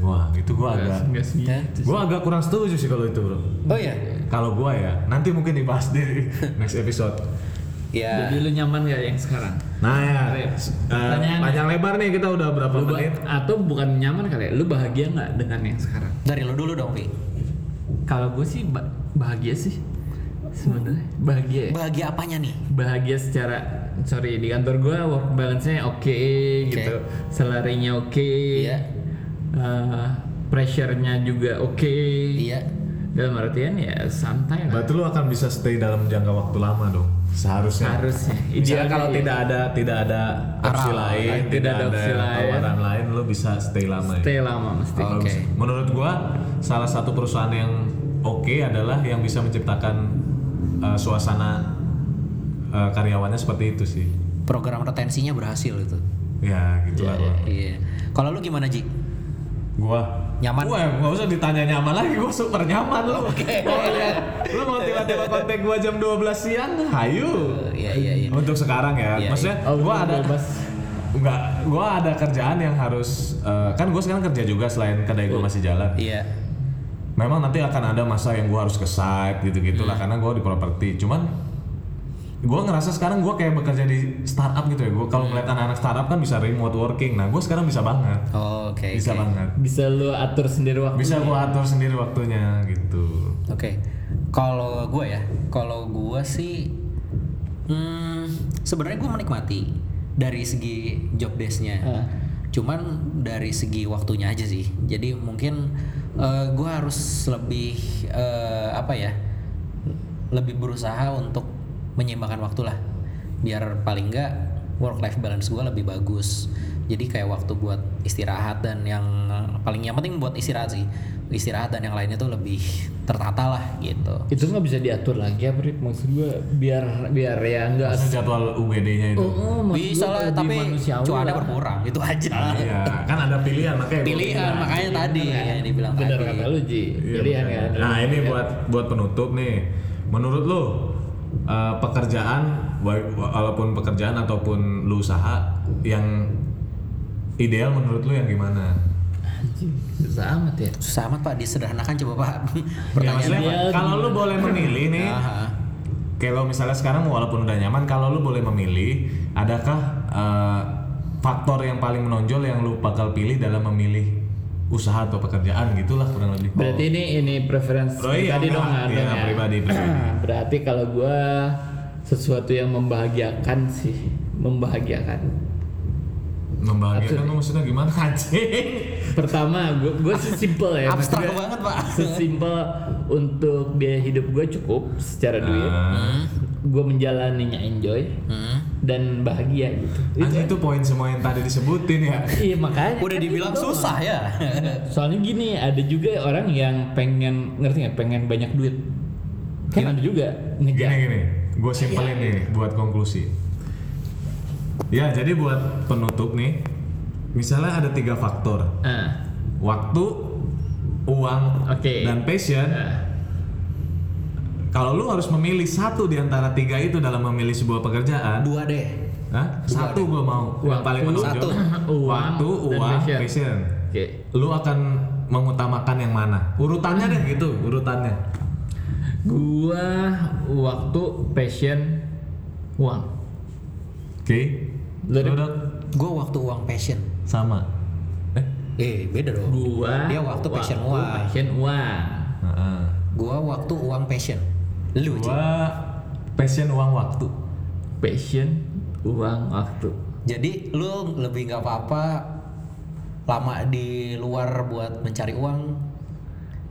[SPEAKER 3] wah itu gua agak
[SPEAKER 2] Enggak Iya, sih.
[SPEAKER 3] gua agak kurang setuju sih kalau itu bro
[SPEAKER 1] oh iya
[SPEAKER 3] kalau gua ya nanti mungkin dibahas
[SPEAKER 2] (laughs)
[SPEAKER 3] di next episode
[SPEAKER 1] ya
[SPEAKER 2] Jadi lu nyaman gak yang sekarang?
[SPEAKER 3] nah ya
[SPEAKER 2] Rip,
[SPEAKER 3] eh,
[SPEAKER 2] pertanyaan
[SPEAKER 3] panjang lebar nih kita udah berapa
[SPEAKER 2] Lu
[SPEAKER 3] menit
[SPEAKER 2] ba- atau bukan nyaman kali ya? Lu bahagia nggak dengan yang sekarang?
[SPEAKER 1] dari lu dulu dong Vi
[SPEAKER 2] Kalau gue sih ba- bahagia sih. Sebenarnya bahagia. ya.
[SPEAKER 1] bahagia apanya nih
[SPEAKER 3] Hmm.
[SPEAKER 2] bahagia secara sorry di kantor gue work balance-nya oke gitu, salarinya oke,
[SPEAKER 1] Iya.
[SPEAKER 2] eh, pressure-nya juga oke.
[SPEAKER 1] iya
[SPEAKER 2] Dalam artian ya santai lah.
[SPEAKER 3] Berarti lu akan bisa stay dalam jangka waktu lama dong. Seharusnya.
[SPEAKER 2] Harusnya.
[SPEAKER 3] Misalnya
[SPEAKER 2] Idealnya
[SPEAKER 3] kalau
[SPEAKER 2] iya.
[SPEAKER 3] tidak ada tidak ada opsi
[SPEAKER 2] Arah.
[SPEAKER 3] lain,
[SPEAKER 2] Tidak ada opsi lain.
[SPEAKER 3] tawaran lain, lu bisa stay lama ya.
[SPEAKER 2] Stay lama mesti.
[SPEAKER 1] oke
[SPEAKER 3] Menurut gua salah satu perusahaan yang oke adalah yang bisa menciptakan uh, suasana uh, karyawannya seperti itu sih.
[SPEAKER 1] program retensinya berhasil itu
[SPEAKER 3] Ya, gitulah. Bang.
[SPEAKER 1] iya kalau lu gimana Ji
[SPEAKER 3] Gua
[SPEAKER 1] Nyaman.
[SPEAKER 3] Gua gak usah ditanya nyaman lagi, gua super nyaman lu. (laughs) lu mau tiba-tiba kontak gua jam 12 siang, hayu.
[SPEAKER 1] iya iya iya
[SPEAKER 3] Untuk sekarang ya,
[SPEAKER 1] Iya,
[SPEAKER 3] maksudnya
[SPEAKER 2] Oh,
[SPEAKER 3] gua
[SPEAKER 2] belum
[SPEAKER 3] ada
[SPEAKER 2] bebas.
[SPEAKER 3] Enggak, gua ada kerjaan yang harus eh, kan gua sekarang kerja juga selain kedai gua masih jalan.
[SPEAKER 1] iya
[SPEAKER 3] Memang nanti akan ada masa yang gua harus ke site gitu-gitu
[SPEAKER 1] Iya.
[SPEAKER 3] lah karena gua di properti. Cuman gua ngerasa sekarang gua kayak bekerja di startup gitu ya. Gua kalau
[SPEAKER 1] Iya.
[SPEAKER 3] melihat anak-anak startup kan bisa remote working. Nah, gua sekarang bisa banget.
[SPEAKER 1] Oh, oke
[SPEAKER 3] Bisa
[SPEAKER 1] oke.
[SPEAKER 3] banget.
[SPEAKER 2] Bisa lu atur sendiri waktu.
[SPEAKER 3] Bisa gua atur sendiri waktunya gitu.
[SPEAKER 1] Oke, kalau gue ya, kalau gue sih, hmm, sebenarnya gue menikmati dari segi job desk-nya.
[SPEAKER 2] Ah.
[SPEAKER 1] Cuman dari segi waktunya aja sih. Jadi mungkin gue harus lebih eh, apa ya, lebih berusaha untuk menyeimbangkan waktu lah, biar paling enggak work life balance gue lebih bagus. Jadi kayak waktu buat istirahat dan yang paling yang penting buat istirahat sih, istirahat dan yang lainnya tuh lebih tertata lah gitu.
[SPEAKER 2] Itu nggak bisa diatur lagi ya, Brit. Maksud gue biar biar ya enggak
[SPEAKER 3] Maksudnya jadwal UGD-nya itu.
[SPEAKER 2] Oh.
[SPEAKER 1] Bisa lah, tapi cuaca berkurang itu aja.
[SPEAKER 3] Iya, kan ada pilihan makanya. gua
[SPEAKER 1] Pilihan
[SPEAKER 3] bilang.
[SPEAKER 1] makanya tadi yang dibilang
[SPEAKER 2] Bener
[SPEAKER 1] tadi.
[SPEAKER 2] iya. kata lu, Ji.
[SPEAKER 3] Iya,
[SPEAKER 2] Pilihan
[SPEAKER 3] benar.
[SPEAKER 2] kan.
[SPEAKER 3] Nah ini buat buat penutup nih. Menurut lo eh, pekerjaan wa- walaupun pekerjaan ataupun lu usaha yang ideal menurut lu yang gimana?
[SPEAKER 2] Anjing, susah amat ya.
[SPEAKER 1] Susah amat pak, disederhanakan coba pak.
[SPEAKER 3] Ya,
[SPEAKER 1] (laughs) Pertanyaan.
[SPEAKER 3] maksudnya
[SPEAKER 2] ideal
[SPEAKER 3] kalau lu boleh memilih nih,
[SPEAKER 1] Aha.
[SPEAKER 3] kalau misalnya sekarang walaupun udah nyaman, kalau lu boleh memilih, adakah eh, faktor yang paling menonjol yang lu bakal pilih dalam memilih usaha atau pekerjaan gitulah kurang lebih.
[SPEAKER 2] Berarti ini ini preferensi
[SPEAKER 3] Oh iya,
[SPEAKER 2] pribadi dong
[SPEAKER 3] enggak.
[SPEAKER 2] nggak
[SPEAKER 3] Iya,
[SPEAKER 2] dong ya?
[SPEAKER 3] pribadi, pribadi.
[SPEAKER 2] (clears throat) Berarti kalau gua sesuatu yang membahagiakan sih, membahagiakan.
[SPEAKER 3] membahagiakan tuh maksudnya gimana (laughs) anjing?
[SPEAKER 2] Pertama, gue gue sesimpel ya.
[SPEAKER 1] Abstrak
[SPEAKER 2] maksudnya
[SPEAKER 1] banget, Pak. (laughs)
[SPEAKER 2] Sesimpel untuk biaya hidup gue cukup secara duit.
[SPEAKER 3] Nah. Ah,
[SPEAKER 2] Gue menjalaninya enjoy
[SPEAKER 1] Hmm.
[SPEAKER 2] dan bahagia gitu.
[SPEAKER 3] Anjing itu poin semua yang tadi disebutin ya.
[SPEAKER 2] Iya makanya.
[SPEAKER 1] Udah
[SPEAKER 2] kan
[SPEAKER 1] dibilang
[SPEAKER 2] itu doang.
[SPEAKER 1] susah ya.
[SPEAKER 2] Soalnya gini, ada juga orang yang pengen ngerti nggak? Pengen banyak duit. Kan ada juga
[SPEAKER 3] Gini
[SPEAKER 2] ngejar.
[SPEAKER 3] gini, gue simpelin nih buat konklusi. Ya jadi buat penutup nih, misalnya ada tiga faktor,
[SPEAKER 2] Ah,
[SPEAKER 3] waktu, uang,
[SPEAKER 2] Oke. Eh.
[SPEAKER 3] dan passion.
[SPEAKER 2] ah,
[SPEAKER 3] Kalau lu harus memilih satu di antara tiga itu dalam memilih sebuah pekerjaan,
[SPEAKER 1] Dua deh.
[SPEAKER 3] Hah? Satu gue mau yang
[SPEAKER 2] Waktu,
[SPEAKER 3] paling menonjol.
[SPEAKER 1] satu.
[SPEAKER 2] Uang,
[SPEAKER 3] Waktu,
[SPEAKER 2] dan
[SPEAKER 3] uang,
[SPEAKER 2] passion.
[SPEAKER 3] passion.
[SPEAKER 2] Oke.
[SPEAKER 3] Lu akan mengutamakan yang mana? Urutannya deh gitu, urutannya.
[SPEAKER 2] Gua waktu passion uang.
[SPEAKER 3] Oke.
[SPEAKER 2] Lu,
[SPEAKER 3] Lu
[SPEAKER 2] Dok?
[SPEAKER 3] Dok?
[SPEAKER 1] Gue waktu uang passion.
[SPEAKER 3] sama. Eh,
[SPEAKER 1] Eh beda dong.
[SPEAKER 2] Gua
[SPEAKER 1] Dia waktu passion uang.
[SPEAKER 2] Passion uang.
[SPEAKER 3] heeh.
[SPEAKER 1] Gue waktu uang passion. Lu Ci.
[SPEAKER 3] Gua passion uang waktu.
[SPEAKER 2] Passion uang waktu.
[SPEAKER 1] Jadi lu lebih nggak apa-apa lama di luar buat mencari uang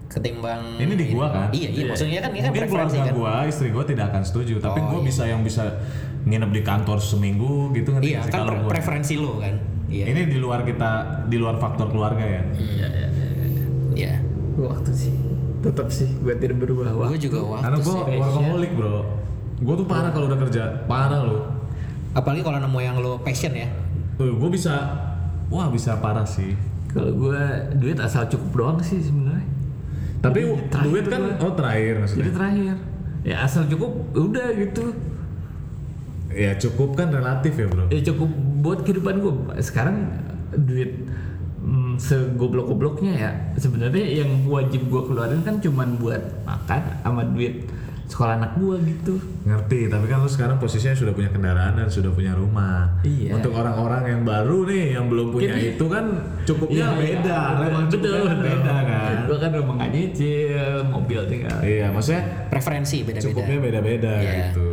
[SPEAKER 1] ketimbang
[SPEAKER 3] Ini di gua kan?
[SPEAKER 1] Iya, iya maksudnya kan ini kan
[SPEAKER 3] Mungkin
[SPEAKER 1] preferensi
[SPEAKER 3] keluarga
[SPEAKER 1] kan.
[SPEAKER 3] gua, istri gua tidak akan setuju, tapi
[SPEAKER 1] Oh,
[SPEAKER 3] gua bisa yang bisa nginep di kantor seminggu gitu ngerti
[SPEAKER 1] Iya,
[SPEAKER 3] nggak sih
[SPEAKER 1] kan
[SPEAKER 3] kalau
[SPEAKER 1] pre-
[SPEAKER 3] gua.
[SPEAKER 1] preferensi lu kan. Iya.
[SPEAKER 3] Ini di luar kita, di luar faktor keluarga ya.
[SPEAKER 2] Iya iya iya.
[SPEAKER 1] Iya.
[SPEAKER 2] Waktu sih. Tetap sih gua tidak berubah.
[SPEAKER 1] Gua juga waktu.
[SPEAKER 3] Karena gue workaholic bro Gue tuh parah kalau udah kerja Parah loh
[SPEAKER 1] Apalagi kalau nemu yang lu passion ya.
[SPEAKER 3] Gue bisa Wah bisa parah sih
[SPEAKER 2] Kalau gua duit asal cukup doang sih sebenarnya.
[SPEAKER 3] Tapi
[SPEAKER 2] Jadi
[SPEAKER 3] w-
[SPEAKER 2] terakhir
[SPEAKER 3] duit kan
[SPEAKER 2] gua.
[SPEAKER 3] Oh terakhir
[SPEAKER 2] Jadi
[SPEAKER 3] maksudnya
[SPEAKER 2] terakhir. Ya asal cukup udah gitu.
[SPEAKER 3] Ya cukup kan relatif ya bro
[SPEAKER 2] Ya cukup buat kehidupan gue. Sekarang duit mm, segoblok-gobloknya ya sebenarnya yang wajib gue keluarin kan cuman buat makan sama duit sekolah anak gue gitu.
[SPEAKER 3] Ngerti Tapi kan lu sekarang posisinya sudah punya kendaraan Dan sudah punya rumah
[SPEAKER 2] Iya.
[SPEAKER 3] Untuk orang-orang yang baru nih Yang belum punya
[SPEAKER 2] Iya.
[SPEAKER 3] itu kan
[SPEAKER 1] Iya,
[SPEAKER 3] Cukupnya beda Memang cukupnya kan beda kan
[SPEAKER 2] Gue kan rumah nggak nyicil, mobil tinggal.
[SPEAKER 3] Iya maksudnya
[SPEAKER 1] Preferensi
[SPEAKER 3] Cukupnya
[SPEAKER 1] beda-beda.
[SPEAKER 3] beda-beda
[SPEAKER 1] Iya.
[SPEAKER 3] gitu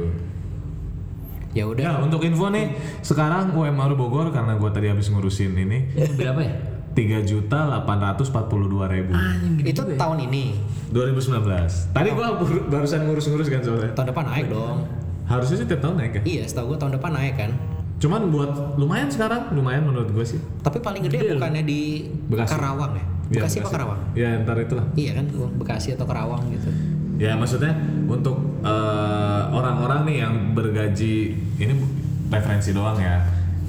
[SPEAKER 1] Ya udah.
[SPEAKER 3] Ya untuk info nih Sekarang UMR Bogor Karena gue tadi habis ngurusin ini
[SPEAKER 2] Ini berapa ya?
[SPEAKER 3] tiga juta delapan ratus empat puluh dua ribu
[SPEAKER 1] Itu
[SPEAKER 3] ya?
[SPEAKER 1] tahun ini.
[SPEAKER 3] 2019 tadi
[SPEAKER 1] Oh.
[SPEAKER 3] gua bur- barusan ngurus-ngurus kan soalnya
[SPEAKER 1] Tahun depan naik dong.
[SPEAKER 3] harusnya sih tiap tahun naik ya
[SPEAKER 1] Iya, setahu gua tahun depan naik kan.
[SPEAKER 3] cuman buat lumayan sekarang lumayan menurut gua sih
[SPEAKER 1] Tapi paling gede bukannya di
[SPEAKER 3] Bekasi.
[SPEAKER 1] Karawang ya?
[SPEAKER 3] Ya,
[SPEAKER 1] Bekasi apa Karawang?
[SPEAKER 3] ya ntar itulah
[SPEAKER 1] Iya kan, gua Bekasi atau Karawang gitu.
[SPEAKER 3] ya maksudnya untuk eh, orang-orang nih yang bergaji ini bu- referensi doang ya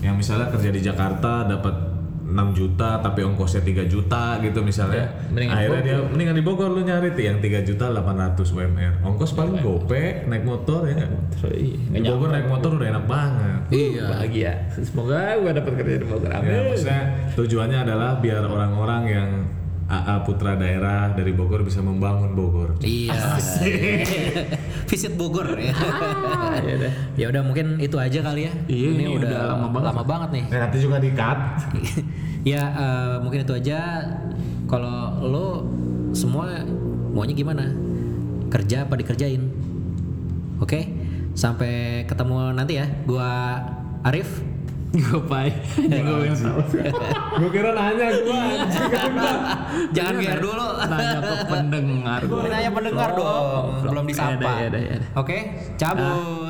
[SPEAKER 3] yang misalnya kerja di Jakarta dapat 6 juta tapi ongkosnya 3 juta gitu misalnya
[SPEAKER 2] Ya, mendingan
[SPEAKER 3] akhirnya
[SPEAKER 2] di
[SPEAKER 3] dia mendingan di Bogor lu nyari tuh yang 3 juta 800 UMR ongkos
[SPEAKER 2] Iya.
[SPEAKER 3] paling gope naik motor ya nggak? Di Bogor naik motor udah enak banget.
[SPEAKER 2] Iya. Bahagia. Semoga gue dapat kerja di Bogor.
[SPEAKER 3] Ya,
[SPEAKER 2] Amin.
[SPEAKER 3] maksudnya tujuannya adalah biar orang-orang yang AA putra daerah dari Bogor bisa membangun Bogor.
[SPEAKER 1] Iya. Visit Bogor ya.
[SPEAKER 2] ya udah.
[SPEAKER 1] ya udah mungkin itu aja kali ya.
[SPEAKER 2] Iya,
[SPEAKER 1] ini,
[SPEAKER 2] ini
[SPEAKER 1] udah,
[SPEAKER 2] udah lama
[SPEAKER 1] lama banget.
[SPEAKER 2] banget.
[SPEAKER 1] nih. (laughs)
[SPEAKER 3] Ya, nanti juga dikat.
[SPEAKER 1] ya eh, mungkin itu aja. Kalau lo semua maunya gimana? Kerja apa dikerjain? Oke, sampai ketemu nanti ya. Gua Arif.
[SPEAKER 2] Gue
[SPEAKER 1] (laughs)
[SPEAKER 2] pai. Gue pengen tahu.
[SPEAKER 3] Gue kira nanya gua. anjing.
[SPEAKER 1] (laughs) Jangan biar dulu. (laughs)
[SPEAKER 2] Tanya ke Iya, kan? pendengar. Oh, Iya,
[SPEAKER 1] Nanya pendengar dong, belum disapa.
[SPEAKER 2] Ya udah, ya udah, ya udah.
[SPEAKER 1] Oke, cabut.